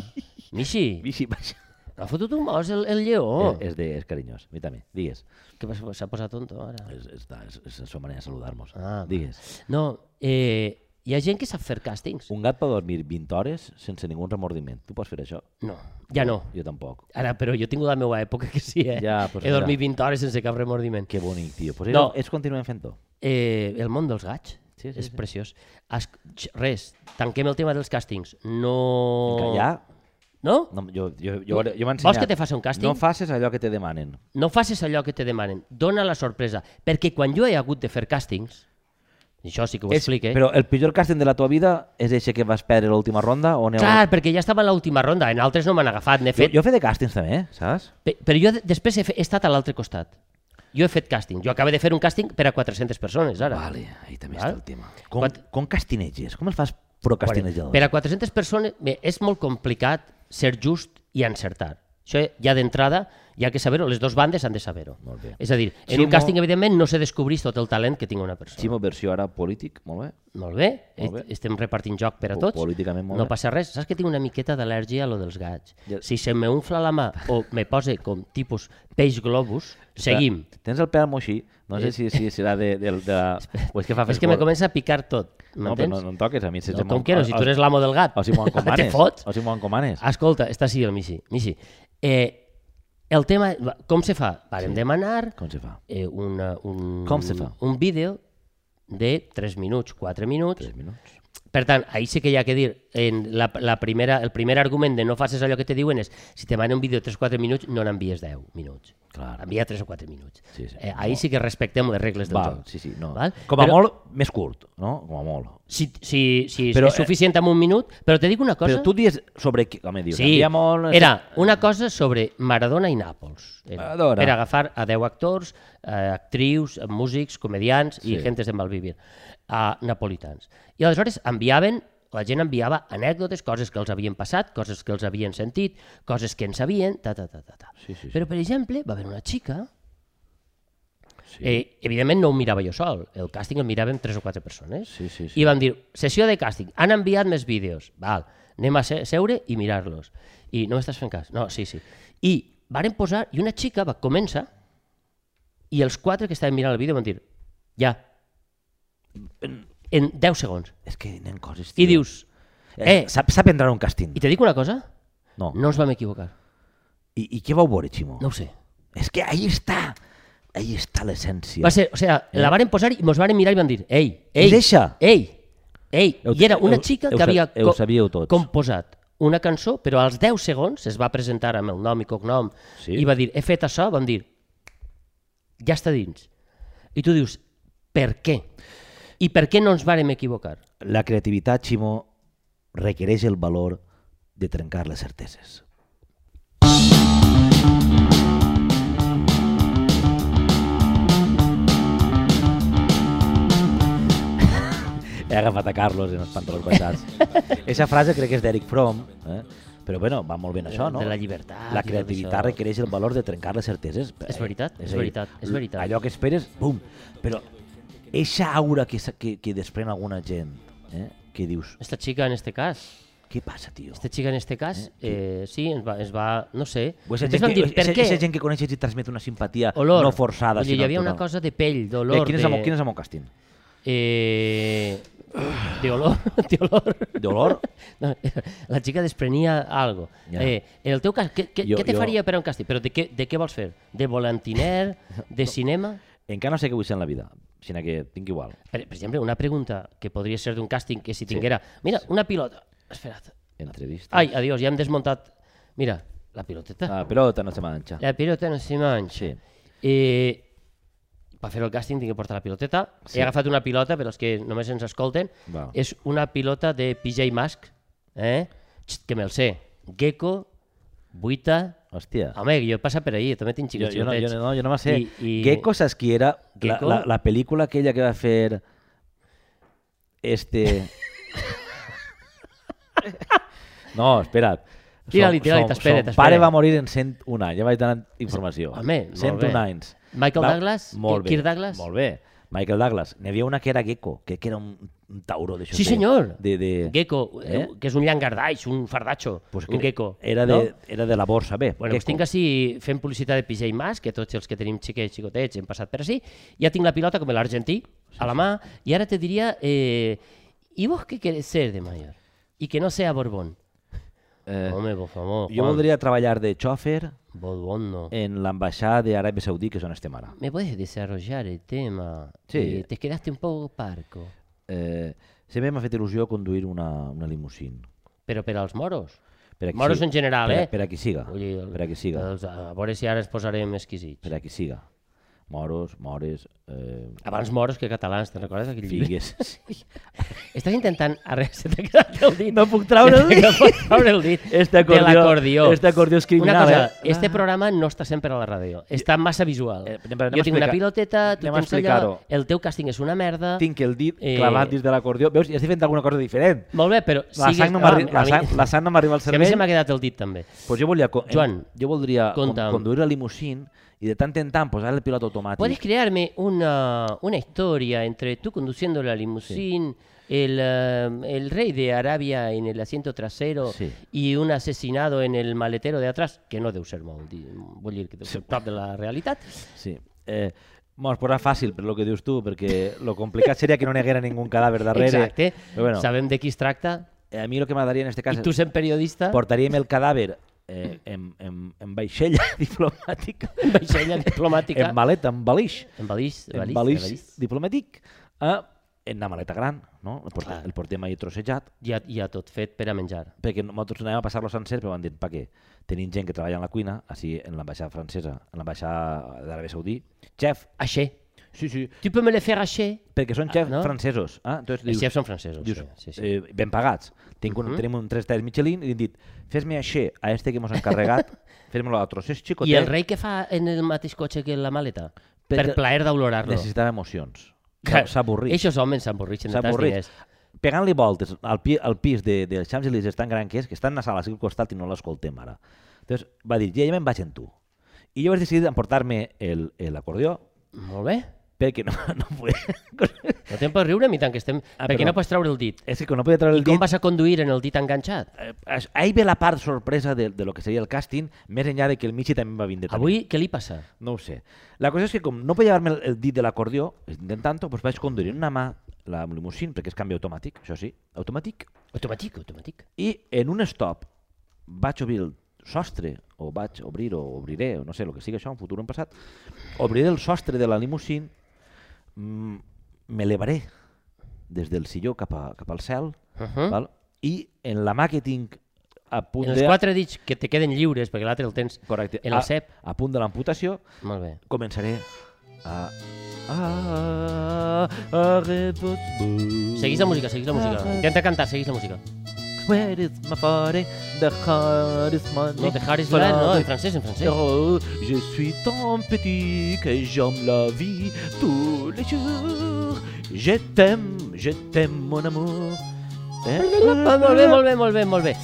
A: Michi,
B: Vici, vaja.
A: ha fotut un mos el, el lleó.
B: Eh, És, és, de, és carinyós, a mi també. Digues.
A: Que pas- s'ha posat tonto ara.
B: És, és, és, és la seva manera de saludar-nos.
A: Ah,
B: Digues.
A: No, eh, hi ha gent que sap fer càstings.
B: Un gat pot dormir 20 hores sense ningú remordiment. Tu pots fer això?
A: No, ja no.
B: Jo tampoc.
A: Ara, però jo tinc la meva època que sí, eh?
B: Ja, pues
A: He
B: mira.
A: dormit 20 hores sense cap remordiment.
B: Que bonic, tio. Pues
A: No.
B: no. ells continuem fent-ho.
A: Eh, el món dels gats
B: Sí, sí,
A: és
B: sí.
A: preciós. Es, x- res, tanquem el tema dels càstings. No...
B: Oh. Ja,
A: No?
B: no, jo, jo, jo, jo m'he ensenyat.
A: Vols que te faci un càsting?
B: No facis allò que te demanen.
A: no facis allò que te demanen, dona la sorpresa, perquè quan jo he hagut de fer càstings, i això sí que ho
B: És-
A: explique,
B: Però el pitjor càsting de la teva vida és eixe que vas perdre l'última ronda? O n'hi ha
A: clar, perquè ja estava a l'última ronda, en altres no m'han agafat, n'he
B: un- Jo,
A: fet,
B: jo he fet de càstings també, eh, saps?
A: Pe- però jo de- després he, fe- he estat a l'altre costat. Jo he fet càsting, jo acabo de fer un càsting per a 400 persones, ara.
B: Vale, ahí també
A: Val?
B: està el tema. Com,
A: Quan-
B: com castineges? Com el fas procastinejador?
A: Per a 400 persones bé, és molt complicat ser just i encertar. Això ja d'entrada hi ha que saber-ho, les dues bandes han de saber-ho.
B: Molt bé.
A: És a dir, en
B: Ximo-
A: un càsting, evidentment, no se descobreix tot el talent que tinc una persona.
B: Ximo, versió ara polític, molt bé.
A: Molt bé,
B: Molt bé.
A: est- estem repartint joc per a
B: Po-
A: tots.
B: políticament molt
A: no
B: bé.
A: passa res. Saps que tinc una miqueta d'al·lèrgia a lo dels gats.
B: Ja-
A: Si se me unfla la mà o me pose com tipus peix globus, seguim.
B: Tens el pèl moixí, no sé si, si serà de, de, de... O és que fa
A: És que me
B: frescor.
A: comença a picar tot,
B: No, però
A: m'entens?
B: no, no em toques a mi. Si
A: No, com que no, si tu eres l'amo del gat.
B: O si m'ho encomanes.
A: Te fots. Ah.
B: O si m'ho encomanes.
A: Escolta, està així el Michi. Michi, eh, el tema... va, Com se fa? Vàrem demanar
B: Com se fa?
A: eh, una, un,
B: Com se fa?
A: un vídeo de 3 minuts, 4 minuts,
B: 3 minuts.
A: Per tant, ahí sí que hi ha que dir, en la, la primera, el primer argument de no facis allò que te diuen és si te manen un vídeo de 3-4 minuts, no n'envies 10 minuts.
B: Clar.
A: Envia 3 o 4 minuts.
B: Sí, sí.
A: Eh, ahí sí que respectem les regles del
B: Val,
A: joc.
B: sí, sí, no.
A: Val?
B: Com a
A: Però-
B: molt, més curt, no? Com a molt.
A: Si, si, si però,
B: Però,
A: és
B: eh,
A: suficient amb un minut, però te dic una cosa...
B: Però tu dius sobre... qui- Home, dius,
A: Sí,
B: envia molt...
A: era una cosa sobre Maradona i Nàpols. Era,
B: Maradona.
A: per agafar a 10 actors, eh, actrius, músics, comedians
B: Sí.
A: i gentes de malvivir, a napolitans. I aleshores enviaven, la gent enviava anècdotes, coses que els havien passat, coses que els havien sentit, coses que en sabien, ta, ta, ta, ta. ta.
B: Sí, sí, sí.
A: Però, per exemple, va haver una xica,
B: Sí.
A: eh, evidentment no ho mirava jo sol, el càsting el miràvem tres o quatre persones,
B: Sí, sí, sí.
A: i vam dir, sessió de càsting, han enviat més vídeos. Val, anem a se seure i mirar-los. I no m'estàs fent cas? No, sí, sí. I varen posar, i una xica va començar, i els quatre que estaven mirant el vídeo van dir, ja, en 10 segons.
B: És que n'hi ha coses,
A: I dius,
B: Eh,
A: eh.
B: sap, sap entrar a un càsting.
A: i te dic una cosa?
B: No.
A: No ens vam equivocar.
B: I, I què vau veure, Ximo?
A: No ho sé.
B: És que ahí està. Ahí està l'essència.
A: Va ser, o sea, la varen posar i mos varen mirar i van dir, ei, ei,
B: És eixa?"
A: ei, ei.
B: Heu-
A: I era una
B: heu-
A: xica
B: heu
A: que
B: sa-
A: havia
B: heu
A: co-
B: sabíeu tots.
A: composat una cançó, però als 10 segons es va presentar amb el nom i cognom
B: Sí.
A: i va dir, he fet això, van dir, ja està dins. I tu dius, per què? I per què no ens vàrem equivocar?
B: La creativitat, Ximo, requereix el valor de trencar les certeses. He agafat a Carlos en els pantalons baixats. Eixa frase crec que és d'Eric Fromm, eh? però bueno, va molt bé en això, no?
A: Eh, De la llibertat i tot Ah,
B: La
A: això.
B: creativitat requereix el valor de trencar les certeses.
A: És veritat, és
B: a dir,
A: veritat, és veritat.
B: Allò que esperes, bum. Però eixa aura que, s- que, que desprèn alguna gent, eh? que dius,
A: Esta xica, en este cas,
B: què passa, tio?
A: esta xica en este cas, eh, sí, ens va, ens va, no sé,
B: O és
A: Després vam
B: gent, que,
A: dir, per
B: és,
A: què?
B: és gent que coneixes i transmet una simpatia
A: Olor.
B: no forçada.
A: Vull dir, hi
B: sinó
A: havia una
B: total. Eh,
A: cosa de pell,
B: Bé,
A: d'olor.
B: quin, és
A: de...
B: el, mo- quin és el meu càsting?
A: Eh... de olor, de olor.
B: D'olor?
A: No, la xica desprenia algo.
B: Ja.
A: Eh, en el teu cas, què, què,
B: Jo-
A: què te
B: jo-
A: faria per a un càsting? Però de què, de què vols fer? De volantiner? De cinema?
B: Encara no sé què vull ser en la vida, sinó que tinc igual.
A: Per, per exemple, una pregunta que podria ser d'un càsting que si tinguera... Mira, una pilota. Espera't.
B: Entrevista.
A: Ai, adiós, ja hem desmuntat... Mira, la piloteta.
B: Ah, però no se manxa.
A: La pilota no s'hi manxa.
B: Sí.
A: Eh, per fer el càsting tinc que portar la piloteta.
B: Sí.
A: He agafat una pilota, però els que només ens escolten.
B: Val.
A: És una pilota de PJ Mask, eh? Xt, que me'l sé. Gecko, Buita...
B: Hòstia.
A: Home, jo he passat per ahir, també tinc
B: Jo,
A: xiquets.
B: jo, no, jo, no, jo no me sé.
A: I, i...
B: Gecko, saps qui era? La,
A: Gecko?
B: la, la pel·lícula aquella que va fer... Este... no, espera't. Son-
A: Tira-li, tira-li,
B: son-
A: t'espere,
B: Son
A: t'espere.
B: pare va morir en 101 anys, ja vaig donant informació.
A: Home, molt
B: 101
A: bé.
B: anys.
A: Michael
B: Va-
A: Douglas? Ki-
B: Molt bé.
A: Kirk Douglas?
B: Molt bé. Michael Douglas. N'hi havia una que era Gecko, que que era un, un tauró d'això.
A: Sí, senyor.
B: De, de...
A: Gecko,
B: Eh?
A: eh? que és un llangardaix, un fardatxo, pues un
B: que
A: gecko.
B: Era,
A: no?
B: de, era de la borsa, bé.
A: Bueno, pues
B: gecko.
A: tinc així fent publicitat de PJ Mas, que tots els que tenim xiquets, xicotets, hem passat per així. Ja tinc la pilota com l'argentí, a la mà, i ara te diria, eh, ¿y vos qué querés ser de mayor? Y que no sea Borbón.
B: Eh,
A: Home, por favor,
B: jo
A: Juan,
B: voldria Eh. treballar de xòfer
A: Borbón no.
B: en l'ambaixada d'Aràbia Saudí, que és on estem ara.
A: ¿Me puedes desarrollar el tema?
B: Sí.
A: Eh, te quedaste un poco parco.
B: Eh, sempre m'ha fet il·lusió conduir una, una limusín.
A: Però per als moros.
B: Per a qui
A: Moros
B: siga-
A: en general,
B: per a,
A: eh?
B: Per a qui siga.
A: Vull dir,
B: per a qui Ah, siga.
A: els- a veure si ara ens posarem exquisits.
B: Per a qui siga. Moros, mores, eh,
A: Abans moros que catalans, te'n recordes aquell llibre?
B: figues...
A: Estàs intentant... Arre, se t'ha quedat el dit.
B: No puc treure-ho.
A: No puc treure el dit
B: Este acordió-
A: de l'acordió.
B: este acordió és criminal,
A: Una cosa,
B: eh?
A: este programa no està sempre a la ràdio. Està massa visual.
B: Eh, però anem a
A: jo tinc una
B: explicar-
A: piloteta, tu
B: anem a
A: tens allò,
B: explicar-ho.
A: el teu càsting és una merda...
B: Tinc el dit
A: Eh.
B: clavat dins de l'acordió. Veus, ja estic fent alguna cosa diferent.
A: Molt bé, però...
B: La
A: sigues-
B: sang no
A: Ah,
B: m'arriba
A: a
B: la
A: mi-
B: sang, la sang no m'arriba al
A: que A mi
B: cervell.
A: se m'ha quedat el dit, també.
B: Pues jo volia, co-
A: Joan,
B: jo voldria con-
A: conta'm.
B: conduir la limusín i de tant en tant posar el pilot automàtic.
A: ¿Puedes crearme una, una historia entre tú conduciendo la limusín, el, eh, el rey de Arabia en el asiento trasero
B: Sí.
A: y un asesinado en el maletero de atrás? Que no deu ser molt, di- vull dir que deu ser prop de la realitat.
B: Sí. Eh, Mos posarà fàcil per lo que dius tu, perquè lo complicat seria que no n'hi haguera ningú cadàver darrere.
A: Exacte.
B: Però bueno,
A: Sabem de qui es tracta
B: eh, a mi el que m'agradaria en este cas
A: i tu
B: és
A: sent periodista...
B: portaríem el cadàver eh, en, en, en vaixella diplomàtica,
A: En vaixella diplomàtica...
B: en maleta, en balix,
A: en balís, en
B: en
A: balís, en
B: balix
A: balís.
B: diplomàtic, eh, en una maleta gran, no? El, portem,
A: Clar.
B: el portem ahí trossejat,
A: Ja, ja tot fet per a menjar.
B: perquè nosaltres anàvem a passar-lo sencer, però van dir, pa què? Tenim gent que treballa en la cuina, així en l'ambaixada francesa, en l'ambaixada d'Aràbia Saudí, xef,
A: Aixer.
B: sí, sí,
A: Tu peux me le faire aixer?
B: perquè són xefs
A: Ah, no?
B: francesos. Eh? Entonces,
A: Els xefs són francesos,
B: dius,
A: sí, sí, sí.
B: Eh, ben pagats. Tinc un, Tenim un 3 estrelles Michelin i li hem dit, fes-me així a este que mos ha encarregat, fes-me-lo a otro. Si és xicotet,
A: I el rei què fa en el mateix cotxe que la maleta? Per,
B: Perquè-
A: plaer d'olorar-lo.
B: necessitava emocions.
A: Clar,
B: S'avorrit.
A: Eixos homes s'avorreixen de tants
B: S'avorrit.
A: diners.
B: Pegant-li voltes al, pi, al pis de, del Champs-Élysées tan gran que és, que està en la sala al seu costat i no l'escoltem ara. Llavors va dir, ja, ja me'n vaig amb tu. I jo vaig decidir emportar-me el- el- l'acordió,
A: Molt bé.
B: perquè no, no podia...
A: No te'n pots riure, ni tant que estem...
B: Ah,
A: Ah, perquè
B: perdó.
A: no pots treure el dit.
B: és que com no podia treure
A: I
B: el
A: com
B: dit,
A: vas a conduir en el dit enganxat?
B: Eh, aix- ahí ve la part sorpresa de, de lo que seria el càsting, més enllà de que el Michi també va vindre. també.
A: Avui, què li passa?
B: No ho sé. La cosa és que com no podia llevar-me el, el dit de l'acordió, intentant doncs vaig conduir en una mà la limusín, perquè és canvi automàtic, això sí, automàtic,
A: Automàtic, automàtic.
B: i en un stop vaig obrir el sostre, o vaig obrir, o obriré, o no sé, el que sigui això, en futur o en passat, obriré el sostre de la limusín, mm, m'elevaré des del silló cap, a, cap al cel,
A: Uh
B: mm?
A: -huh.
B: val? i en la mà que tinc a punt
A: En els
B: de...
A: quatre dits que te queden lliures, perquè l'altre el tens
B: Correcte.
A: en E el
B: a,
A: cep.
B: a punt de l'amputació,
A: Molt bé.
B: començaré a... a... a...
A: Seguís la música, seguís la música. Intenta cantar, seguís la música.
B: Where is my body? The heart is my...
A: No, dejar is live, no? En francès, en francès.
B: Oh, je suis tant petit que j'aime la vie tous les jours. Je t'aime, je t'aime, mon amour. Eh?
A: Ah, molt bé, molt bé, molt bé, molt bé.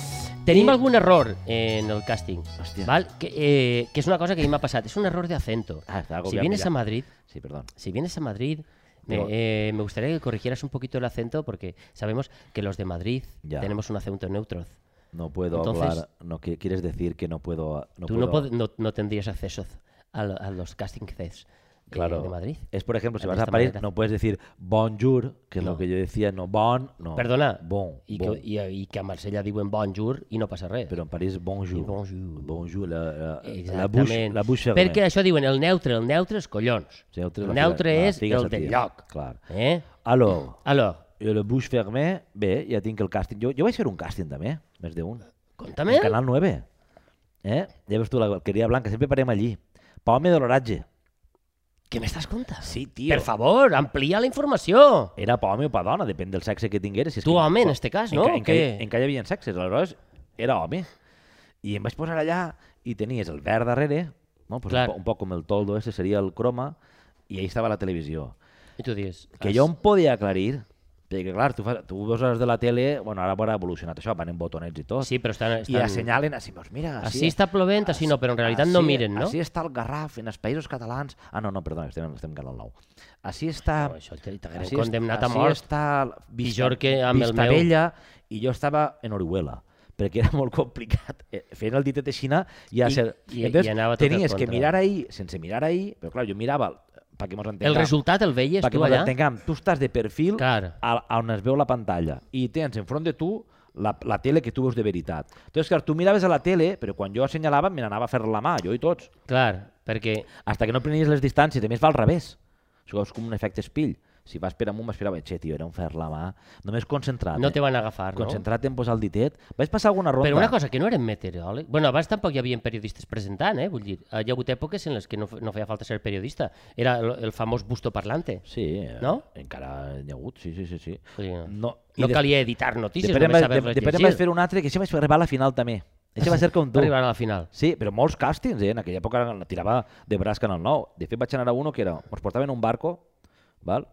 A: Tenim
B: I-
A: algun error en el càsting,
B: Hòstia.
A: val? Que, eh, que és una cosa que a mi m'ha passat. És un error de acento.
B: Ah, está algo
A: Si
B: que
A: vienes
B: mirar.
A: a Madrid,
B: Sí, perdón.
A: si vienes a Madrid, me,
B: Pero-
A: eh, me gustaría que corrigieras un poquito el acento porque sabemos que los de Madrid
B: Ya.
A: tenemos un acento neutro.
B: No puedo
A: Entonces-
B: hablar. No, qui- ¿Quieres decir que no puedo? No
A: Tú
B: puedo
A: no, pod- no, no tendrías acceso a, lo- a los casting sets
B: Claro.
A: de Madrid.
B: Es, por ejemplo, si
A: De
B: vas a
A: esta
B: París,
A: manera.
B: no puedes decir bonjour, que es lo
A: No.
B: que yo decía, no, bon, no.
A: Perdona.
B: Bon,
A: I,
B: bon.
A: que, i, I que a Marsella diuen bonjour i no passa res.
B: Però en París, bonjour.
A: I bonjour.
B: Bonjour, la, la, la, bouche,
A: Exactament.
B: la bouche fermée.
A: Perquè això diuen el neutre, el neutre és collons.
B: Sí, el
A: el
B: la-
A: neutre
B: la
A: és
B: figa
A: el
B: satírica,
A: del lloc.
B: Clar.
A: Eh?
B: Alors,
A: Alors,
B: jo la bouche fermée, bé, ja tinc el càsting. Jo, jo vaig fer un càsting també, més d'un.
A: conta'm.
B: En Canal 9. Eh? Ja veus tu, la Quería Blanca, sempre parem allí. Palme de l'Oratge.
A: Què m'estàs contant?
B: Sí, tio.
A: Per favor, amplia la informació.
B: Era per home o per dona, depèn del sexe que tingueres. Si és
A: Tu,
B: que,
A: home, en este cas, no?
B: Enca,
A: O
B: enca,
A: què?
B: enca hi havia sexes, aleshores era home. I em vaig posar allà i tenies el verd darrere, no? pues un,
A: Clar.
B: po- un poc com el toldo, ese seria el croma, i ahí estava la televisió.
A: I tu dius...
B: Que
A: "Has-
B: jo em podia aclarir, perquè clar, tu, fas, tu veus les de la tele, bueno, ara haurà evolucionat això, van en botonets i tot,
A: Sí, però estan...
B: i
A: estan...
B: assenyalen, així, doncs mira,
A: Així està plovent, així no, però en realitat no miren, no?
B: Així està el Garraf, en els països catalans... Ah, no, no, perdona, que estem, estem en Canal 9. Així està...
A: No, això te- t'hagueren
B: així
A: condemnat a
B: així
A: mort.
B: està Vista,
A: Pitjor que amb el meu.
B: Vistabella, i jo estava en Orihuela perquè era molt complicat. Eh, Fent el ditet de Xina ja...
A: I-
B: ser...
A: i- i anava tot al
B: tenies que
A: contra.
B: mirar ahir, sense mirar ahir, però clar, jo mirava perquè
A: El
B: mos entengam.
A: resultat el veies
B: perquè
A: tu
B: mos
A: allà?
B: entengam, tu estàs de perfil
A: Clar.
B: a, a on es veu la pantalla i tens enfront de tu la, la tele que tu veus de veritat. Entonces, clar, tu miraves a la tele, però quan jo assenyalava me n'anava a fer la mà, jo i tots.
A: Clar, perquè...
B: Hasta que no prenies les distàncies, a més va al revés. Això és com un efecte espill. Si vas per amunt, vas per avall. Che, tio, era un fer la mà. Només concentrat.
A: No te
B: eh?
A: van agafar, no?
B: Concentrat en posar el ditet. Vaig passar alguna ronda.
A: Però una cosa, que no eren meteoròlegs... Bueno, abans tampoc hi havia periodistes presentant, eh? Vull dir, hi ha hagut èpoques en les que no, f- no feia falta ser periodista. Era el, el famós busto parlante.
B: Sí, eh,
A: No?
B: encara n'hi ha hagut, sí, sí, sí. sí.
A: Vull dir, no,
B: No, i
A: no
B: de-
A: calia editar notícies,
B: Després em
A: només
B: vaig- de-
A: saber-les
B: després em
A: llegir.
B: vaig fer un altre, que això vaig arribar a la final també. Això va ser com tu.
A: Arribar a la final.
B: Sí, però molts càstings, eh? En aquella època la tirava de brasca en el nou. De fet, vaig anar a uno que era... Ens portaven a un barco, val?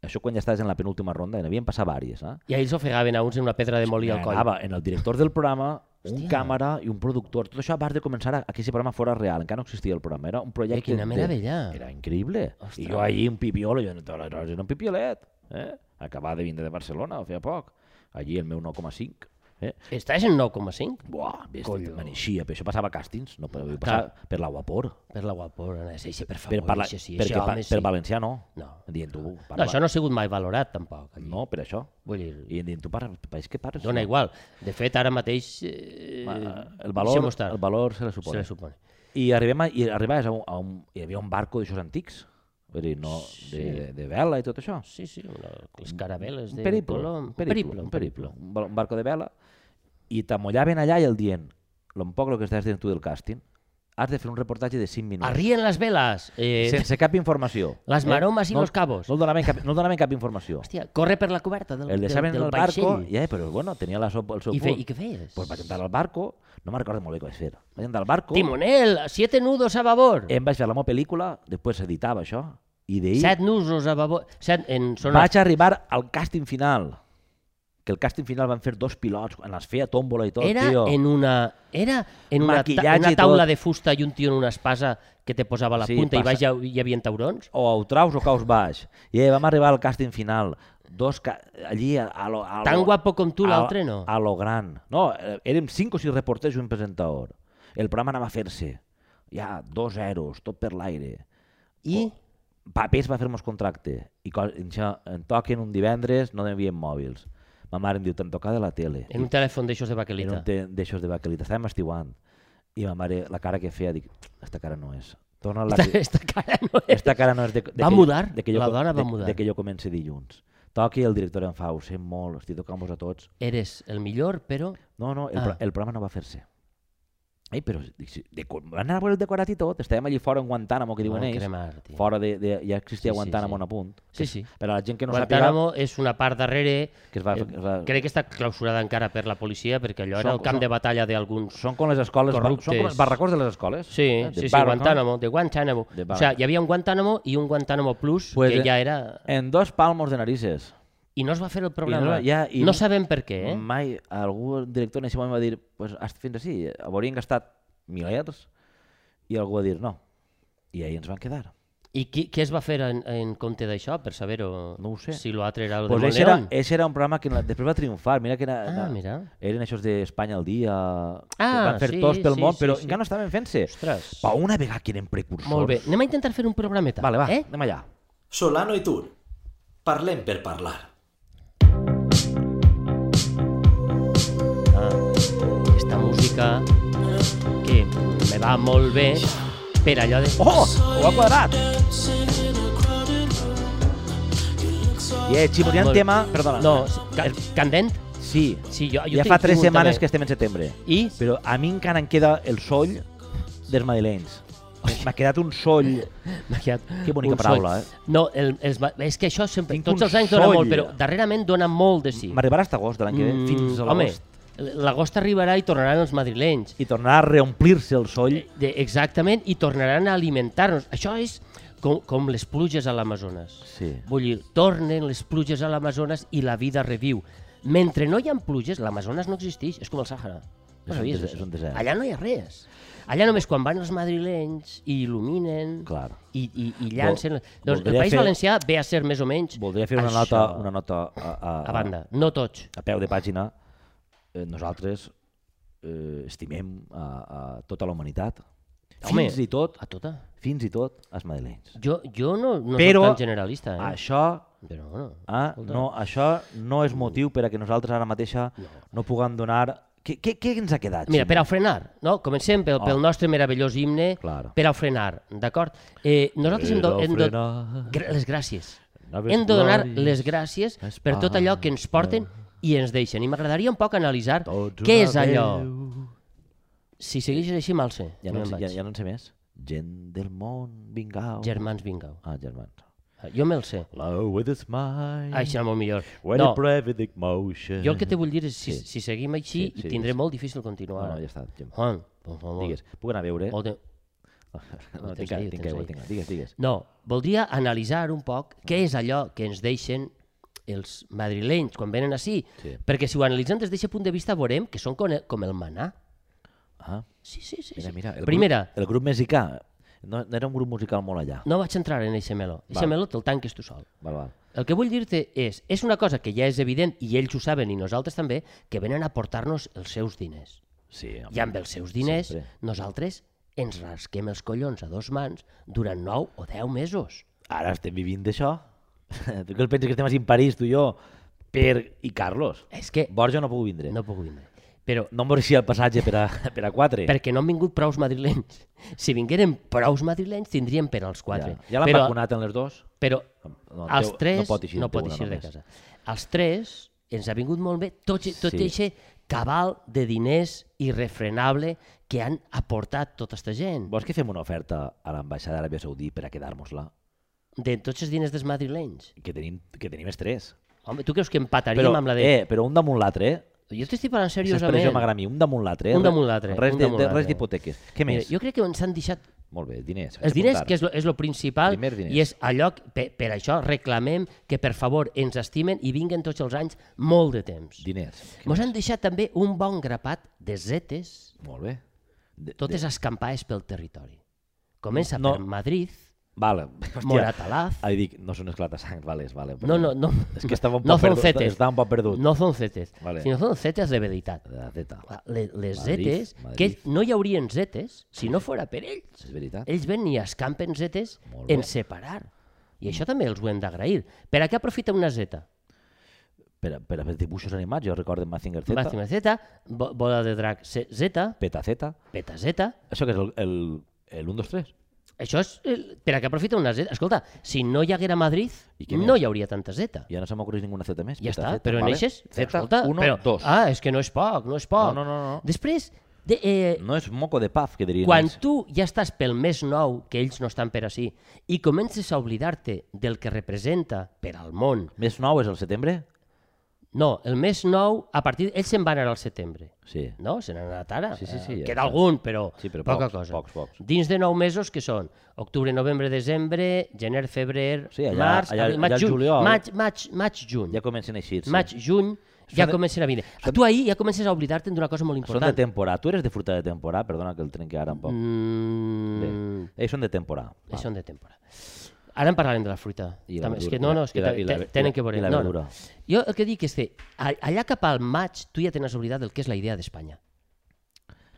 B: Això quan ja estàs en la penúltima ronda, i n'havien passat vàries, eh?
A: I ells ofegaven a uns en una pedra de molí al coll.
B: Anava en el director del programa, un
A: Hòstia.
B: càmera i un productor. Tot això abans de començar a, a que aquest programa fora real, encara no existia el programa. Era un projecte...
A: Eh, quina meravella.
B: De... Era increïble.
A: Ostres.
B: I jo allí, un pipiolo, jo aleshores era un pipiolet. Eh? Acabava de vindre de Barcelona, feia poc. Allí el meu 9,5. Eh?
A: Estàs en 9,5?
B: Buah, vés,
A: Collo.
B: m'aneixia, però això passava a càstings,
A: Ah,
B: no per, passar per la Guapor.
A: Per la guapora, no, sí, sí, per favor,
B: Per, parla,
A: això sí,
B: perquè,
A: això,
B: pa,
A: home,
B: per
A: sí.
B: valencià no.
A: No.
B: Em Dient tu,
A: No,
B: parla.
A: això no ha sigut mai valorat, tampoc. allí.
B: no, per això.
A: Vull dir,
B: I em dient tu, parla, país que parles.
A: dona
B: no?
A: igual. De fet, ara mateix... Eh,
B: Ma-
A: deixem-ho
B: El valor,
A: estar.
B: el valor se le supone.
A: se le supone.
B: I arribem a, i arribaves a un, a un, hi havia un barco d'aixòs antics, vull dir, no, de, de, de vela i tot això.
A: Sí, sí, una, les caraveles
B: Un
A: de
B: periplo,
A: Colom.
B: un periplo, un periplo, un, bar- un barco de vela, i t'amollaven allà i el dient, un poc el que estàs dient tu del càsting, has de fer un reportatge de 5 minuts,
A: Arrien les veles. Eh,
B: sense cap informació. eh?
A: Las maromas i
B: no,
A: los cabos.
B: No donaven cap, no donaven cap informació.
A: Hòstia, corre per la coberta del,
B: el
A: del,
B: deixaven en
A: del
B: el barco,
A: vaixell.
B: ja, però bueno, tenia la, so- el seu
A: I, fe,
B: punt.
A: I què feies?
B: Pues vaig entrar al barco, no me'n recordo molt bé què vaig fer. Vaig entrar al barco, Eh,
A: Timonel, siete nudos a babor.
B: em vaig fer la meva pel·lícula, després s'editava això, i d'ahir...
A: Set nusos a babor. Set, en, són
B: Vaig arribar al càsting final. Que el càsting final van fer dos pilots, en les feia tòmbola i tot,
A: era
B: tio.
A: en una, era en una, ta
B: Maquillatge
A: una
B: i
A: taula
B: tot.
A: de fusta i un tio en una espasa que te posava la
B: Sí,
A: punta i
B: passa-
A: baix hi, ha- hi havia taurons?
B: O autraus o caus baix. I eh, vam arribar al càsting final. Dos ca... allí a, a lo, a lo,
A: Tan guapo com tu,
B: a-
A: l'altre no.
B: A lo gran. No, eh, érem cinc o sis reporters i un presentador. El programa anava a fer-se. Ja, dos zeros, tot per l'aire.
A: I
B: papers va fer-nos contracte i co- en, això, en toquen un divendres no hi havia mòbils ma mare em diu te'n toca de la tele
A: en un telèfon d'aixòs de
B: era
A: baquelita.
B: un te- d'aixòs de baquelita, estàvem estiguant. I ma mare, la cara que feia, dic, esta cara no és. Torna la que...
A: Esta cara no és.
B: Esta cara no és de, de
A: Va
B: que,
A: mudar?
B: De que jo,
A: La
B: com-
A: dona va
B: de,
A: mudar.
B: De que jo comenci dilluns. Toqui el director em fa, ho sent molt, estic tocant-vos a tots.
A: Eres el millor, però...
B: No, no, el,
A: Ah.
B: ah. el programa no va fer-se. Ei, però dic, si- de, com- van anar a veure el decorat i tot, estàvem allí fora en Guantánamo, que diuen
A: Van
B: ells.
A: cremar, tio.
B: Fora de, de, ja
A: Sí, sí,
B: existia sí,
A: sí.
B: Guantánamo en a punt.
A: Sí, sí.
B: Per a la gent que no
A: Guantánamo és una part darrere...
B: sàpiga, que es va...
A: Eh,
B: Que es va
A: Crec que està clausurada encara per la policia, perquè allò era
B: Són-
A: el camp
B: són-
A: de batalla d'alguns...
B: Són com les escoles... Són com
A: Corruptes.
B: els barracons de les escoles.
A: Sí,
B: eh, de
A: sí, sí,
B: barracons.
A: Guantánamo, de Guantánamo.
B: De
A: O sea,
B: Barracón.
A: hi havia un Guantánamo i un Guantánamo Plus,
B: Pues,
A: que
B: eh,
A: ja era...
B: En dos palmos de narices.
A: I no es va fer el programa.
B: no- ja- i Mm,
A: no
B: no-
A: sabem per què, eh?
B: Mai algú director en aquest moment va dir pues, hasta fins així, haurien gastat milers i algú va dir no. I ahir ens van quedar.
A: I qui, què es va fer en, en compte d'això, per saber-ho?
B: No ho sé.
A: Si l'altre era el
B: Pues
A: de
B: ese, era,
A: Monleón.
B: ese era un programa que en la- després va triomfar. Mira que era,
A: Ah,
B: era-
A: mira.
B: eren això d'Espanya al dia, que
A: Ah,
B: van fer
A: sí,
B: tots pel
A: sí,
B: món,
A: sí,
B: però
A: sí.
B: encara no estaven fent-se.
A: Ostres.
B: Pa una vegada que eren precursors.
A: Molt bé. Anem a intentar fer un programeta.
B: Vale, va,
A: Eh?
B: anem allà.
C: Solano i Tur. Parlem per parlar.
A: Ah, esta música que me va molt bé per allò de...
B: Oh, ho ha quadrat! I yeah, ximoriant
A: Molt-
B: tema... Perdona.
A: No, ca Candent?
B: Sí,
A: Sí, jo, Ah, jo
B: ja
A: tinc
B: fa tres
A: un
B: setmanes
A: també.
B: que estem en setembre.
A: I?
B: Però a mi encara em queda el soll dels madrilenys. M'ha quedat un soll...
A: M'ha quedat
B: Que bonica
A: un
B: paraula, eh?
A: soll. No, el, els, ma- és que això sempre...
B: Tinc
A: tots
B: un
A: els anys dona
B: soll.
A: molt, però darrerament dona molt de sí. Mm,
B: M'arribarà hasta agost de l'any que ve, fins a
A: home,
B: l'agost.
A: l'agost arribarà i tornaran els madrilenys.
B: I tornarà a reomplir-se el soll.
A: De, exactament, i tornaran a alimentar-nos. Això és com, com les pluges a l'Amazones.
B: Sí.
A: Vull dir, tornen les pluges a l'Amazones i la vida reviu. Mentre no hi ha pluges, l'Amazones no existeix, és com el Sàhara.
B: És
A: No
B: un
A: sabies,
B: desert,
A: això?
B: és un desert.
A: Allà no hi ha res. Allà només quan van els madrilenys i il·luminen
B: Clar.
A: i, i, i llancen... doncs el
B: voldria
A: País
B: fer-
A: Valencià ve a ser més o menys
B: Voldria fer una
A: això.
B: nota, una nota a, a,
A: A banda, no tots.
B: a peu de pàgina, eh, nosaltres eh, estimem a, a tota la humanitat,
A: Home, Eh.
B: fins i tot,
A: a tota.
B: fins i tot els madrilenys.
A: Jo, jo no, no
B: Però-
A: soc tan generalista, eh?
B: Això,
A: Però bueno.
B: ah, no, això no és motiu per a que nosaltres ara mateixa no puguem donar... Què, què, què ens ha quedat?
A: Mira,
B: Ximo?
A: per a frenar, no? Comencem pel,
B: Ah.
A: pel nostre meravellós himne,
B: Clar.
A: per a frenar, d'acord? Eh, nosaltres hem, do,
B: Per a
A: hem do,
B: frenar.
A: gra- les gràcies.
B: Noves
A: hem de donar
B: glòries,
A: les gràcies per tot allò que ens porten i ens deixen. I m'agradaria un poc analitzar
B: Tots
A: què
B: una
A: és allò.
B: veu.
A: Si segueixes així, malse.
B: Ja no, en sé- ja, ja no en sé més. Gent del món, vingau.
A: Germans, vingueu.
B: Ah, germans.
A: Jo me'l sé.
B: Low with a smile.
A: Això era molt millor.
B: When
A: No,
B: a private motion.
A: jo el que te vull dir és si,
B: Sí.
A: si seguim així
B: Sí, sí,
A: i tindré
B: sí.
A: molt difícil continuar.
B: No, no, ja està. Ximo.
A: Juan, por favor.
B: Digues, puc anar a veure?
A: O te- Ho
B: No,
A: tens
B: tinc, tinc,
A: ahí, ho
B: tinc,
A: tens
B: aigua,
A: ahí.
B: tinc, aigua. digues, digues.
A: No, voldria analitzar un poc què és allò que ens deixen els madrilenys quan venen així.
B: Sí.
A: Perquè si ho analitzem des d'aquest punt de vista veurem que són con- com el manà.
B: Ah,
A: Sí, sí, sí.
B: mira,
A: sí.
B: mira. El
A: Primera,
B: Grup, el grup mexicà. No, no era un grup musical molt allà.
A: no vaig entrar en eixe meló. Eixe
B: Val.
A: meló te'l tanques tu sol.
B: Val, val.
A: El que vull dir-te és, és una cosa que ja és evident, i ells ho saben, i nosaltres també, que venen a portar-nos els seus diners.
B: Sí, home.
A: I amb els seus diners,
B: Sempre.
A: nosaltres ens rasquem els collons a dos mans durant 9 o 10 mesos.
B: Ara estem vivint d'això. tu què penses que estem així en París, tu i jo? Per... I Carlos.
A: És que
B: Borja no puc vindre. No,
A: no puc vindre. Però
B: no em mereixia el passatge per a, per a quatre.
A: perquè no han vingut prous madrilenys. Si vingueren prous madrilenys, tindríem per als quatre.
B: Ja, ja l'han
A: però,
B: vacunat en les dos?
A: Però
B: No, el
A: els
B: teu-
A: tres
B: no pot eixir, el
A: no
B: teu
A: pot
B: una
A: eixir de
B: només.
A: casa. Els tres ens ha vingut molt bé tot, i- tot
B: Sí.
A: sí. eixe cabal de diners irrefrenable que han aportat tota aquesta gent.
B: Vols que fem una oferta a l'ambaixada d'Aràbia Saudí per a quedar-nos-la?
A: De tots els diners dels madrilenys.
B: Que tenim, que tenim els tres.
A: Home, tu creus que empataríem
B: Però,
A: amb la de...
B: eh, però un damunt l'altre, eh?
A: jo t'estic parlant
B: S'expressió
A: seriosament.
B: m'agrada a mi, un damunt l'altre. eh?
A: Un damunt l'altre,
B: Res
A: un
B: de-
A: damunt
B: de-
A: l'altre.
B: Res d'hipoteques. Què
A: Mira,
B: més?
A: jo crec que ens han deixat
B: Molt bé, diners.
A: Els diners, que és lo, és lo principal,
B: Primer diners.
A: i és allò que, per, per això reclamem que, per favor, ens estimen i vinguen tots els anys molt de temps.
B: Diners.
A: Ens han deixat també un bon grapat de zetes,
B: Molt bé. De,
A: totes escampades pel territori. Comença
B: No.
A: no. per Madrid,
B: Vale. Hòstia.
A: Moratalaz...
B: Ah, dic, no són esclatasangs, vale, vale.
A: No, no, no.
B: És que estava un
A: no
B: poc
A: són
B: perdut.
A: zetes.
B: Estava un poc perdut.
A: No són zetes,
B: Vale.
A: vale. sinó són zetes de veritat.
B: De la teta.
A: Les, les
B: Madrid,
A: zetes,
B: Madrid.
A: que no hi haurien zetes si no fora per ells.
B: És veritat?
A: ells ven i escampen zetes
B: Molt bé.
A: en separar. I això també els ho hem d'agrair. Per a què aprofita una zeta?
B: Per, per a fer dibuixos animats, jo recordo Mazinger Z,
A: Màxima zeta, bo- bola de drac ze- zeta,
B: Peta Z.
A: peta zeta.
B: Això que és el, el, el 1, 2, 3.
A: Això és el- per a què aprofita una zeta. Escolta, si no hi haguera Madrid,
B: I què
A: no
B: més?
A: hi hauria tanta zeta.
B: Ja no se m'ocorreix ninguna Z més.
A: Ja
B: Peta
A: està,
B: Z,
A: però
B: vale?
A: en eixes...
B: Z,
A: escolta,
B: 1,
A: però,
B: 2.
A: Ah, oh. és que no és poc, no és poc.
B: No, no, no, no.
A: Després, de, eh,
B: No és moco de paf, que dirien
A: Quan
B: ells.
A: tu ja estàs pel més nou, que ells no estan per així, i comences a oblidar-te del que representa per al món
B: Més nou és el setembre?
A: No, el més nou, a partir... Ells se'n van anar al setembre,
B: Sí.
A: no? Se n'han anat ara.
B: Sí, sí, sí,
A: Eh,
B: ja
A: Queda
B: està.
A: algun, però,
B: Sí, però
A: poca
B: pocs,
A: cosa.
B: pocs, pocs.
A: Dins de nou mesos, que són? Octubre, novembre, desembre, gener, febrer,
B: Sí, allà-
A: març,
B: allà-
A: abril,
B: allà
A: maig,
B: al
A: juny.
B: juliol.
A: Maig, maig, maig, juny.
B: Ja comencen a eixir-se.
A: Maig, juny, ja
B: de-
A: comencen a vindre. A tu ahir ja comences a oblidar-te'n d'una cosa molt
B: Són de
A: important.
B: temporada. Tu eres de fruita de temporada, perdona que el trenqui ara un poc.
A: Mm,
B: Ells són de temporada.
A: eh, són de temporada. Ara en parlarem de la fruita.
B: I la
A: També, és
B: verdura.
A: que no, no, és que
B: I la- i la-
A: te- tenen que veure.
B: i la
A: no,
B: verdura.
A: no. Jo el que dic és que a- allà cap al maig tu ja t'has oblidat del que és la idea d'Espanya.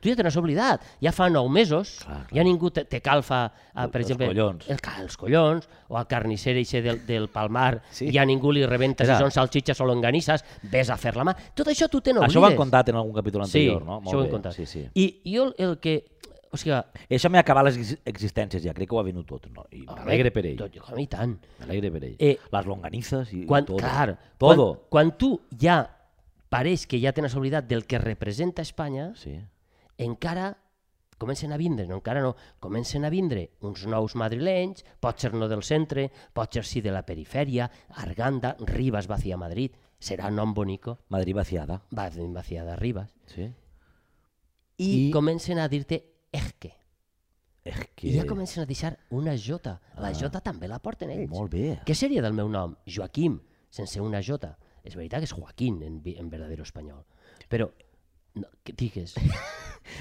A: Tu ja te n'has oblidat. Ja fa nou mesos,
B: Clar, clar.
A: ja ningú te, te calfa, a, per
B: Els
A: exemple,
B: collons.
A: El, ca- els collons, o al carnisser eixe del, del Palmar,
B: Sí.
A: sí. ja ningú li rebenta
B: Era.
A: si són salxitxes o longanisses, ves a fer la mà. Tot això tu te n'oblides.
B: Això ho han contat en algun capítol anterior,
A: sí,
B: no?
A: Això ho
B: bé,
A: hem contat.
B: Sí, sí.
A: I jo el- el que... O sigui,
B: I això m'ha acabat les exis- existències ja, crec que ho ha venut tot. No? I m'alegre per ell.
A: Tot, home, i tant.
B: M'alegre per ell.
A: Eh,
B: les longanices i
A: Quan,
B: tot.
A: clar,
B: Todo.
A: Quan, quan tu ja pareix que ja tens oblidat del que representa Espanya,
B: Sí.
A: encara comencen a vindre, no encara no, comencen a vindre uns nous madrilenys, potser no del centre, potser sí de la perifèria, Arganda, Ribas va hacia Madrid, serà nom bonico,
B: Madrid vaciada.
A: va va hacia de Ribas.
B: Sí.
A: I,
B: I-
A: I comencen a dir-te erque.
B: És que...
A: I ja comencen a deixar una jota. La
B: Ah.
A: jota també la porten ells.
B: Molt bé.
A: Què seria del meu nom? Joaquim, sense una jota. És veritat que és Joaquín en, vi- en verdadero espanyol. Però, no, què digues?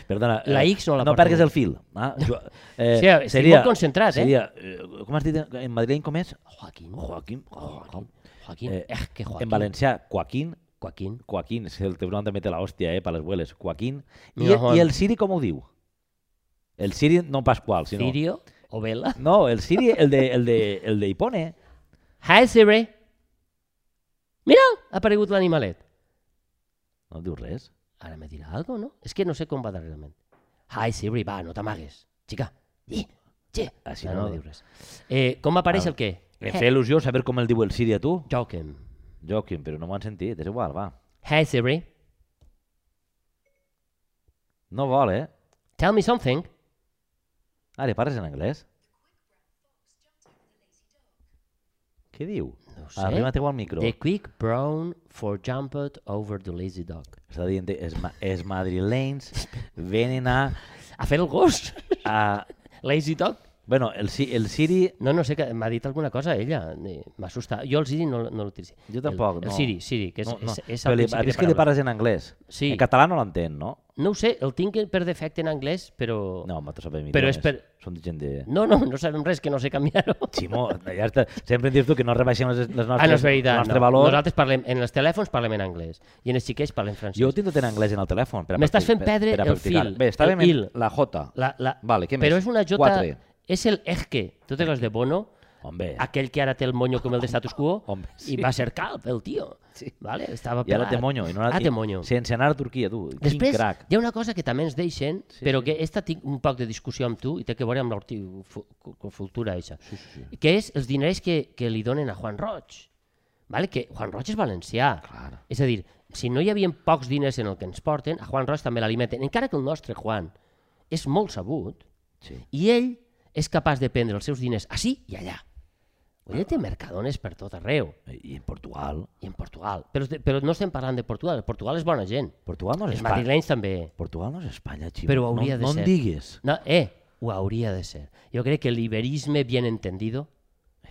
B: Perdona.
A: La
B: eh,
A: X no la
B: No
A: porta
B: perdis
A: ningú.
B: el fil. Ah, jo, eh,
A: Sí, estic molt concentrat, eh?
B: seria, eh? Com has dit en- en madrileny com és?
A: Joaquín,
B: Joaquim. Joaquim.
A: Joaquín,
B: Eh,
A: eh, que Joaquín.
B: En valencià, Joaquín.
A: Joaquín.
B: Joaquín, si el tribunal també té la hòstia, eh, per les vueles. Joaquín. I,
A: Mira, Juan.
B: I el Siri com ho diu? El Siri no Pasqual, sinó...
A: Sirio o Vela.
B: No, el Siri, el de, el de, el de Ipone.
A: Hi, Siri. Mira, ha aparegut l'animalet.
B: No diu res.
A: Ara me dirà algo, no? És que no sé com va darrerament. Hi, Siri, va, no t'amagues. Xica, di, che.
B: Així
A: Ah,
B: no.
A: no, diu res. Eh, com apareix
B: Ah.
A: el què?
B: Em feia il·lusió saber com el diu el Siri a tu,
A: Joaquim.
B: Joaquim, però no m'ho han sentit. És igual, va.
A: Hi, Siri,
B: No vol, eh?
A: tell me something.
B: Ara, parles en anglès? Què diu?
A: No ho sé.
B: Arriba't igual al micro.
A: The quick brown for jumped over the lazy dog.
B: Està dient, els, ma els madrilenys venen a...
A: A fer el gos?
B: a...
A: lazy dog?
B: Bueno, el, Si- el Siri...
A: No, no sé, que m'ha dit alguna cosa ella. eh, M'assusta. Jo el Siri no, no l'utilitzo.
B: Jo tampoc,
A: el,
B: no.
A: El Siri, Siri, que és,
B: No, no.
A: és, és
B: però
A: el
B: li,
A: principi
B: és
A: de
B: que li
A: paraula.
B: parles en anglès.
A: Sí.
B: En català no l'entén, no?
A: No ho sé, el tinc per defecte en anglès, però...
B: No, m'ho sabem
A: Però és per-
B: eh? Som gent de...
A: No, no, no sabem res, que no sé canviar-ho.
B: Ximo, ja està. sempre em dius tu que no rebaixem les, les nostres,
A: Ah, no és veritat.
B: el nostre
A: no.
B: valor.
A: Nosaltres parlem, en els telèfons parlem en anglès i en els xiquets parlem francès.
B: Jo ho tinc tot en anglès en el telèfon. per a
A: M'estàs
B: practic-
A: fent
B: per-
A: perdre
B: per a
A: el
B: practicar.
A: fil,
B: Bé, estàvem
A: el
B: en
A: il.
B: la J.
A: La, la...
B: Vale, què
A: però
B: més?
A: és una jota...
B: Quatre.
A: És el ejque. Tu te de Bono,
B: Hombre,
A: aquell que ara té el moño com el de status quo
B: Hombre, sí.
A: i va ser calp, el tio.
B: Sí.
A: Vale? Estava
B: i ara
A: pelat.
B: té monyo. I no
A: ara ah, té monyo.
B: Sense anar a Turquia, tu. Quin
A: Després,
B: crac.
A: hi ha una cosa que també ens deixen, sí, però que esta tinc un poc de discussió amb tu i té que veure amb l'horticultura això, sí, sí, sí. que és els diners que, que li donen a Juan Roig. Vale? Que Juan Roig és valencià.
B: Clar.
A: És a dir, si no hi havia pocs diners en el que ens porten, a Juan Roig també l'alimenten, encara que el nostre Juan és molt sabut
B: Sí.
A: i ell és capaç de prendre els seus diners així i allà. Ell té mercadones per tot arreu
B: I en Portugal.
A: i en Portugal. Però, es de- però no estem parlant de Portugal, Portugal és bona gent.
B: Portugal no és
A: Els
B: Espanya.
A: madrilenys també.
B: Portugal no és Espanya, Ximo.
A: Però hauria
B: no,
A: de
B: no
A: ser.
B: No em digues.
A: No, eh, ho hauria de ser. Jo crec que el liberisme bien entendido,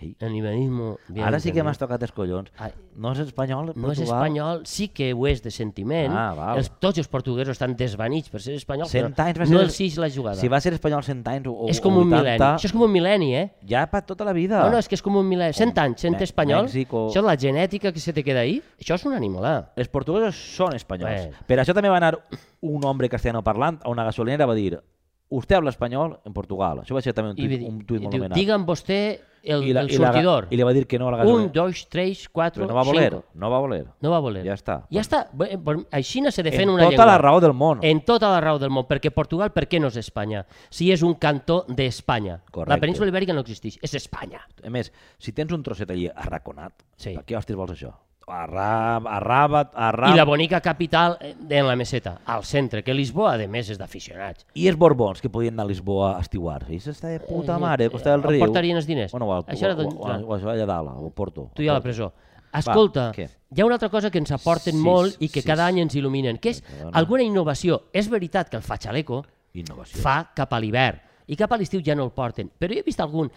B: Ei,
A: el liberismo bien
B: ara sí que
A: entendido,
B: m'has tocat els collons.
A: Ah,
B: No és espanyol, Portugal.
A: no és espanyol, sí que ho és de sentiment.
B: Ah, val.
A: els, tots els portuguesos estan desvanits per ser espanyols,
B: Cent anys va
A: però
B: ser...
A: no els sis la jugada.
B: Si va ser espanyol 100 anys o, o
A: és com un
B: o 80,
A: mil·lenni. Això és com un mil·lenni, eh?
B: Ja per tota la vida.
A: No, no, és que és com un mil·lenni. Cent anys, cent
B: Me-
A: espanyol.
B: Mèxico.
A: Això, la genètica que se te queda ahí, això és un animalà.
B: Els portuguesos són espanyols.
A: Bé.
B: Per això també va anar un home castellano parlant a una gasolinera va dir «Usted habla espanyol en Portugal». Això va ser també un
A: I
B: tuit,
A: di-
B: un tuit
A: i
B: molt
A: diu,
B: anomenat.
A: Digue'm vostè el,
B: I la-
A: el
B: i la ga-
A: sortidor.
B: I li va dir que no a la
A: un,
B: gasolinera.
A: dos, tres, quatre,
B: Però no va voler,
A: cinco.
B: no va voler.
A: No va voler.
B: Ja està.
A: Ja està. Bé, eh, per- Així no se
B: En
A: defen
B: tota
A: una llengua.
B: la raó del món.
A: En tota la raó del món. Perquè Portugal, per què no és Espanya? Si és un cantó d'Espanya.
B: Correcte.
A: La península ibèrica no existeix. És Espanya.
B: A més, si tens un trosset allí arraconat,
A: Sí.
B: per què hòsties vols això? Arrab, arrabat,
A: I
B: arrab...
A: la bonica capital eh, en la meseta, al centre, que Lisboa, a més, és d'aficionats.
B: I els borbons que podien anar a Lisboa a estiuar. I s'està de puta mare, al costat del
A: Eh, on
B: riu.
A: portarien els diners?
B: Bueno, o, al-
A: Això era
B: o,
A: d'on-
B: o, o, o, allà dalt, o Porto.
A: Tu ja a la presó. Escolta,
B: què?
A: hi ha una altra cosa que ens aporten
B: Sis,
A: molt i que
B: sis.
A: cada any ens il·luminen, que és
B: Perdona.
A: alguna innovació. És veritat que el fa xaleco,
B: Innovació.
A: fa cap a l'hivern i cap a l'estiu ja no el porten. Però jo he vist algun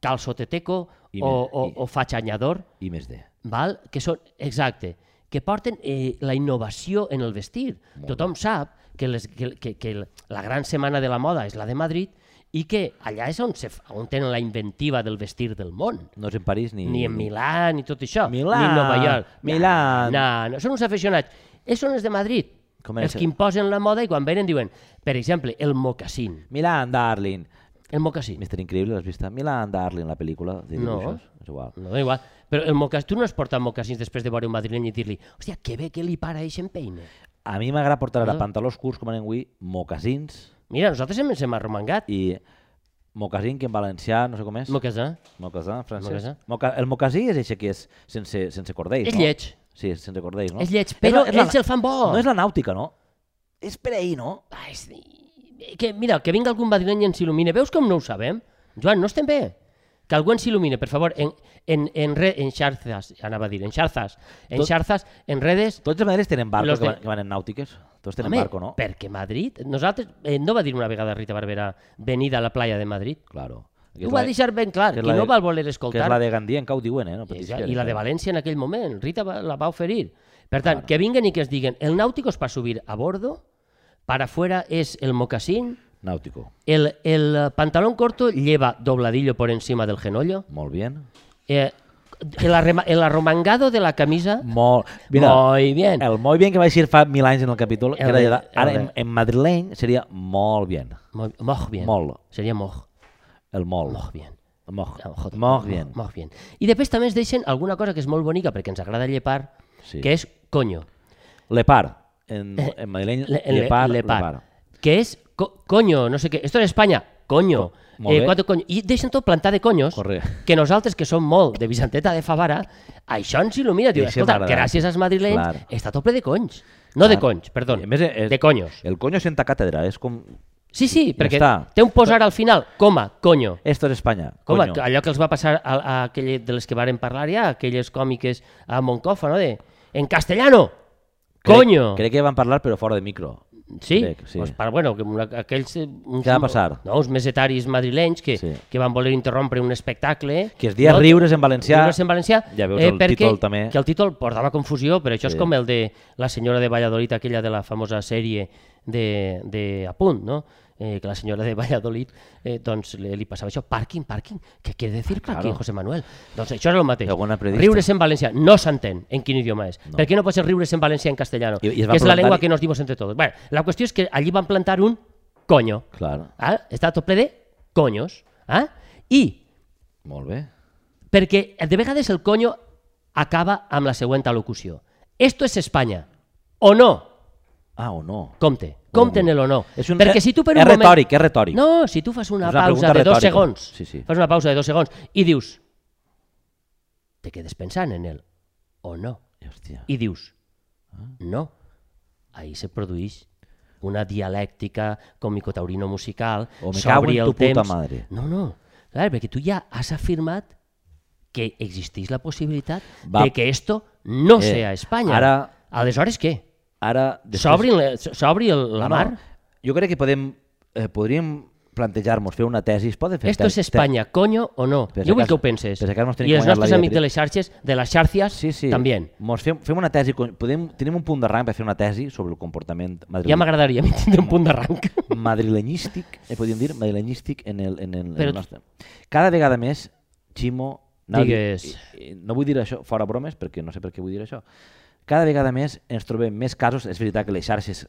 A: calçoteteco
B: I
A: o,
B: me-
A: o,
B: i-
A: o fachanyador,
B: I més de.
A: val? que són, exacte, que porten eh, la innovació en el vestir. Tothom sap que, les, que, que, que el- la gran setmana de la moda és la de Madrid i que allà és on, se, f- on tenen la inventiva del vestir del món.
B: No és en París ni...
A: Ni en Milà, ni tot això.
B: Mm. Milà,
A: ni Nova York.
B: Milà.
A: No, no, són uns aficionats. És són els de Madrid.
B: Com era
A: els
B: això?
A: que imposen la moda i quan venen diuen, per exemple, el mocasín.
B: Milan, darling.
A: El mocasín.
B: Mister Increïble, l'has vist? Milan, darling, la pel·lícula de
A: No.
B: dibuixos. És igual.
A: No, da igual. Però el mocas... tu no has portat mocassins després de veure un madrileny i dir-li hòstia, que bé que li para i peine.
B: A mi m'agrada portar ara
A: Ah.
B: pantalons curts, com anem avui, mocassins
A: Mira, nosaltres hem, ens hem arromangat.
B: i mocassin, que en valencià, no sé com és.
A: Mocassà.
B: Mocassà, en francès.
A: Mocassà.
B: Moca... El mocassí és això que és sense, sense cordells,
A: És
B: no?
A: lleig.
B: Sí, és sense cordells, no?
A: És lleig, però
B: la- la-
A: ells el fan bo.
B: No és la nàutica, no? És per ahir, no?
A: Ah, és... que, mira, que vinga algun madrileny i ens il·lumine. Veus com no ho sabem? Joan, no estem bé. Que algú ens il·lumine, per favor, en, en, en, re, en xarzas, anava a dir, en xarzas, en
B: Tot-
A: xarzas, en redes...
B: Tots els madrilenys tenen barcos
A: Los
B: que,
A: de-
B: van, que van en nàutiques. Tots tenen
A: Home,
B: barco, no?
A: perquè Madrid... Nosaltres... Eh, no va dir una vegada Rita Barberà venida a la playa de Madrid.
B: Claro. Que
A: Ho
B: és
A: va
B: la-
A: deixar ben clar, que,
B: que és la
A: no
B: de-
A: va voler
B: Que és la
A: escoltar.
B: de Gandia, encara ho diuen, eh? No,
A: I,
B: Patricia,
A: I la de
B: eh?
A: València en aquell moment, Rita va, la va oferir. Per tant, que vinguen i que es diguen el náutico es para subir a bordo, para afuera es el mocasín,
B: Náutico.
A: el, el eh, pantalón corto lleva dobladillo por encima del genollo,
B: Molt bien.
A: eh, el, arrema- el arromangado de la camisa,
B: Molt... Mira, Eh,
A: muy bien.
B: el molt bien que vaig dir fa mil anys en el capítol, que
A: El
B: era,
A: de-
B: allà- ara
A: el de-
B: en, en madrileny seria molt bien.
A: Muy- moj bien.
B: Molt.
A: Seria moj.
B: El molt.
A: Moj bien.
B: Molt.
A: Ah, joder,
B: Molt bien.
A: Molt bien. I després també ens deixen alguna cosa que és molt bonica perquè ens agrada llepar,
B: Sí.
A: que és coño.
B: Lepar. En, en madrileny,
A: Eh, Le- le-
B: lepar,
A: lepar.
B: lepar.
A: Que és co- coño, no sé què. Esto en Eh, Espanya, coño.
B: molt bé.
A: quatre coño. I deixen tot plantar de conyos,
B: Corre.
A: que nosaltres, que som molt de Vicenteta de Favara, això ens il·lumina. Diu,
B: I això
A: escolta,
B: m'agrada.
A: gràcies als madrilenys
B: Clar. Ah,
A: està tot ple de conys. No de conys, perdó,
B: I a més, és-
A: de conyos.
B: El coño senta càtedra, és com...
A: Sí, sí, perquè
B: està.
A: té un posar al final, coma, coño.
B: Esto es Espanya.
A: Com
B: coño.
A: allò que els va passar a, a aquell, de les que varen parlar ja, aquelles còmiques a Moncofa, no? De, en castellano,
B: Crec-
A: coño.
B: Crec que van parlar, però fora de micro.
A: Sí,
B: crec, sí.
A: Pues, per, bueno, que una, aquells... eh, Uns,
B: Què va passar?
A: No, uns mesetaris madrilenys que,
B: Sí.
A: sí. que van voler interrompre un espectacle.
B: Que es deia
A: no?
B: Riures en valencià.
A: Riures en valencià.
B: Ja veus el títol també.
A: Que el títol portava confusió, però això és
B: Sí.
A: com el de la senyora de Valladolid, aquella de la famosa sèrie de, de A punt, no? Eh, que la senyora de Valladolid eh, doncs li, li passava això, pàrquing, pàrquing, què quiere decir pàrquing, José Manuel? Doncs això era el mateix.
B: Alguna periodista.
A: Riures en valencià, no s'entén en quin idioma és. No. Per què no pot ser riures en valencià en castellano?
B: I- i es va
A: que és la
B: plantar-
A: llengua que nos dimos entre todos. Bueno, la qüestió és que allí van plantar un coño.
B: Clar,
A: Ah? Està tot ple de coños. Ah? I
B: molt bé.
A: perquè de vegades el coño acaba amb la següent al·locució. Esto es España. O no.
B: Ah, o no?
A: Compte. Compte en el o no.
B: Mm. És un-
A: Perquè si tu per un
B: és
A: moment...
B: retòric, és retòric.
A: No, si tu fas una,
B: És una
A: pausa
B: pregunta
A: de dos
B: retòrica.
A: segons,
B: Sí, sí.
A: fas una pausa de dos segons i dius... Te quedes pensant en el o no.
B: Hòstia.
A: I dius... No. Ahí se produeix una dialèctica comicotaurino-musical
B: O me cago
A: s'obri
B: en
A: el
B: tu puta
A: temps.
B: madre.
A: No, no. Clar, perquè tu ja has afirmat que existeix la possibilitat
B: Va.
A: de que esto no
B: Eh,
A: eh, sea Espanya.
B: ara-
A: Aleshores, què?
B: Ara... després-
A: S'obri la, s'obri el- la
B: No,
A: mar?
B: Jo crec que podem, eh, podríem plantejar-nos fer una tesi. Es poden fer
A: Esto es
B: te-
A: España, coño o no.
B: Per si
A: jo vull
B: acaso-
A: que ho penses.
B: per si acaso mos tenim
A: I
B: que
A: els
B: guanyar la
A: nostres
B: vida,
A: amics
B: Tri.
A: de les xarxes, de les xarxias,
B: Sí, sí.
A: també.
B: Mos fem, fem una tesi, con- podem, tenim un punt d'arranc per fer una tesi sobre el comportament madrileny.
A: Ja m'agradaria a mi tindre un punt d'arranc.
B: madrilenyístic, eh, podríem dir, madrilenyístic en el, en el, en
A: Però-
B: el nostre. Cada vegada més, Ximo... anava a dir-
A: Digues.
B: i- i No vull dir això fora bromes, perquè no sé per què vull dir això. Cada vegada més ens trobem més casos, és veritat que les xarxes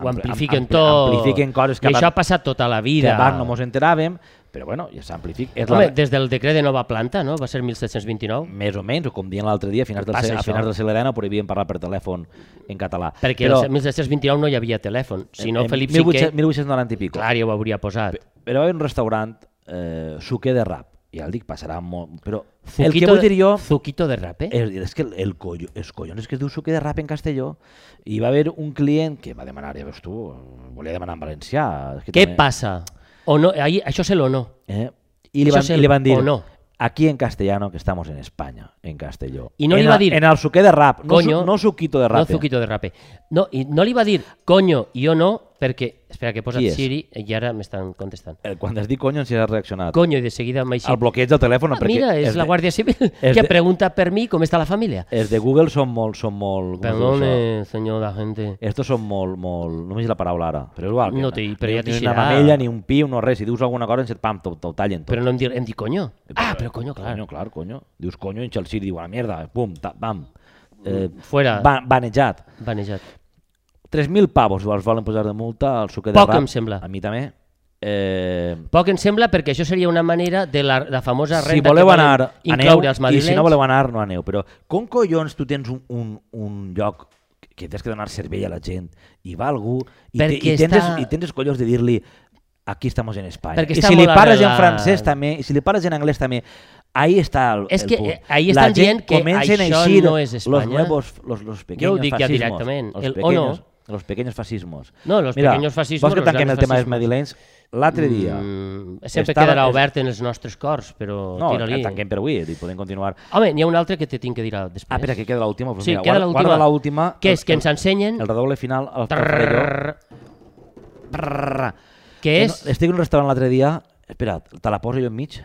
A: Ho
B: ampli-
A: amplifiquen
B: ampli-
A: tot.
B: Amplifiquen coses que
A: I això ha
B: abans,
A: passat tota la
B: que
A: vida.
B: abans no mos enteràvem, però bueno, ja s'amplifica. És
A: Home,
B: la,
A: des del decret de nova planta, no? Va ser 1729.
B: més o menys, o com dient l'altre dia, a finals, del,
A: Passa
B: se- a
A: això.
B: finals del segle XIX prohibien parlar per telèfon en català.
A: Perquè
B: Però Eh,
A: el 1729 no hi havia telèfon. Si no,
B: en
A: Felip
B: 1800
A: V,
B: 1890 i pico.
A: clar, ja ho hauria posat.
B: però hi ha un restaurant eh, suquer de rap, ja el dic, passarà molt... Però el que
A: Zuquito
B: vull
A: de-
B: dir jo
A: Zuquito de rap, eh?
B: és, és que el, el collo, els collons que es diu suquer de rap en castelló i va haver un client que va demanar, ja veus tu, volia demanar en valencià. És que
A: Què
B: també-
A: passa? O no, ahí, això és el o no.
B: Eh? I, li
A: Això
B: van,
A: és el
B: I li van dir,
A: o no.
B: aquí en castellano, que estamos en España, en castelló.
A: I no
B: en
A: li
B: el-
A: va dir,
B: En el suquer de rap, no,
A: coño,
B: su, no suquito de
A: No
B: rap. eh?
A: Zuquito de rap. No, i no li va dir, coño, jo no, perquè... Espera, que he posat
B: Qui és?
A: Siri i ara m'estan contestant.
B: Eh, Quan has dit conyo, ens hi has reaccionat.
A: Conyo, i de seguida mai
B: El bloqueig del telèfon,
A: Ah,
B: perquè...
A: mira, és, la
B: de-
A: Guàrdia Civil
B: és
A: que
B: de-
A: pregunta per mi com està la família.
B: Els de Google són molt... Són molt com es diu això?
A: Perdone, senyor la gente.
B: Estos són molt, molt... No m'he dit la paraula ara, però és igual. que
A: No t'hi- però
B: ni-
A: ja t'hi
B: Ni una
A: serà.
B: mamella, ni un piu, no res. Si dius alguna cosa, ens et pam, t'ho t'ho tallen tot.
A: Però no em, dir, em dic conyo.
B: Eh,
A: Ah, però conyo, clar.
B: Coño, clar, coño. Dius coño, en Chelsea, diu a la mierda, pum, ta, bam.
A: Mm.
B: Eh,
A: Fuera.
B: ba- banejat.
A: Banejat.
B: 3.000 pavos els volen posar de multa al suquer de
A: Poc,
B: rap.
A: em sembla.
B: A mi també. Eh,
A: Poc em sembla perquè això seria una manera de la, la famosa
B: si
A: renda
B: voleu
A: que volen
B: anar, aneu,
A: incloure els
B: i
A: madrilenys.
B: si no voleu anar, no aneu. Però com collons tu tens un, un, un lloc que tens que donar servei a la gent i va algú i, te, i,
A: Perquè
B: tens,
A: està-
B: els- i tens els collons de dir-li aquí estamos en Espanya.
A: Perquè
B: I
A: està
B: si li
A: molt
B: parles en
A: arrelat.
B: francès també, i si li parles en anglès també, ahí està el,
A: És
B: el
A: que,
B: punt.
A: eh, ahí
B: la
A: estan
B: gent
A: dient que
B: comencen a
A: això
B: eixir
A: no és Espanya.
B: Los nuevos, los, los pequeños
A: Jo ho dic ja
B: fascismos,
A: directament,
B: Los
A: el o
B: pequeños,
A: no.
B: Los pequeños fascismos.
A: No, los
B: Mira,
A: pequeños fascismos,
B: Vols que
A: los
B: tanquem el
A: grandes
B: tema dels
A: fascismos.
B: madrilenys? L'altre dia...
A: Mm, sempre
B: estava-
A: quedarà
B: es-
A: obert en els nostres cors, però
B: No, eh,
A: tira-li.
B: tanquem per avui, i podem continuar.
A: Home, n'hi ha una altra que te tinc que dir ara després.
B: Ah, espera, que queda l'última. Pues
A: Sí,
B: mira,
A: queda
B: guarda-
A: l'última.
B: Guarda l'última.
A: Que és
B: el-
A: que ens ensenyen...
B: El redoble final, el Trrrr.
A: Trrrr,
B: Trrrr.
A: que és...
B: No, estic en un restaurant l'altre dia... Espera, te la poso jo enmig?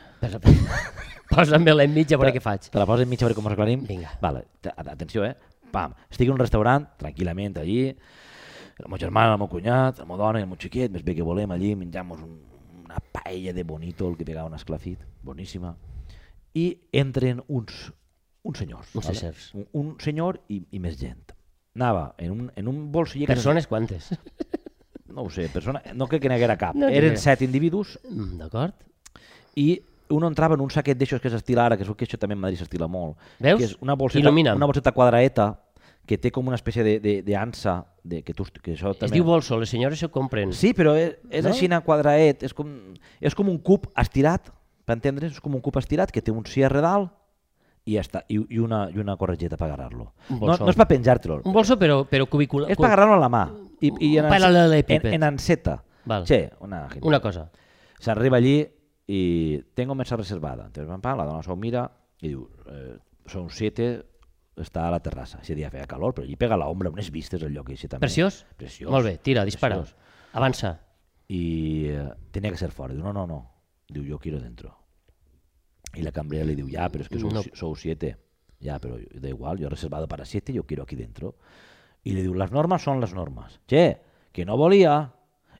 A: Posa'm-me l'enmig a veure
B: Te-
A: què faig.
B: Te la poso enmig a veure com ho aclarim?
A: Vinga.
B: Vale, te- a- atenció, eh? Pam, estic en un restaurant, tranquil·lament, allí, el meu germà, el meu cunyat, la meva dona i el meu xiquet, més bé que volem, allí menjamos un, una paella de bonito, el que pegava un esclafit, boníssima, i entren uns, uns senyors.
A: Uns
B: vale?
A: éssers.
B: Un, un senyor i, i més gent. Anava en un, en un bolsiller... que no-
A: Persones quantes?
B: No ho sé, persona, no crec que n'haguera cap.
A: No
B: No
A: n'hi
B: Eren
A: haguera.
B: set individus
A: Mm, D'acord?
B: i un entrava en un saquet d'aixòs que s'estila ara, que és que això també a Madrid s'estila molt.
A: Veus?
B: Que és una bolseta,
A: Il·lumina'm.
B: una bolseta quadraeta que té com una espècie de, de, de ansa de, que, tu, que això
A: Es
B: també...
A: diu bolso, les senyores ho compren.
B: Sí, però és, és
A: No?
B: no? així en quadraet, és com, és com un cub estirat, per entendre's, és com un cub estirat que té un cierre dalt i ja està, i, i, una, i una corretgeta per agarrar-lo.
A: Un
B: No,
A: bolsó.
B: no és per penjar-te'l,
A: Un bolso, però, però cubicular.
B: és per agarrar-lo a la mà. I, i en,
A: Un
B: anse-
A: paral·lelepíped.
B: en, en enceta.
A: Val.
B: Sí, una,
A: Una cosa.
B: S'arriba allí i tengo mesa reservada. Entonces, pam, pam, la dona s'ho mira i diu, eh, són 7, està a la terrassa. Ese dia feia calor, però allí pega la ombra, unes vistes al lloc així també.
A: Preciós?
B: Preciós.
A: Molt bé, tira, dispara.
B: Preciós.
A: Avança.
B: I eh, tenia que ser fora. Diu, no, no, no. Diu, jo quiero dentro. I la cambrera li diu, ja, però és que sou,
A: No.
B: no. sou siete. Ja, però da igual, jo he reservado para siete, yo quiero aquí dentro. I li diu, les normes són les normes. Che, que no volia.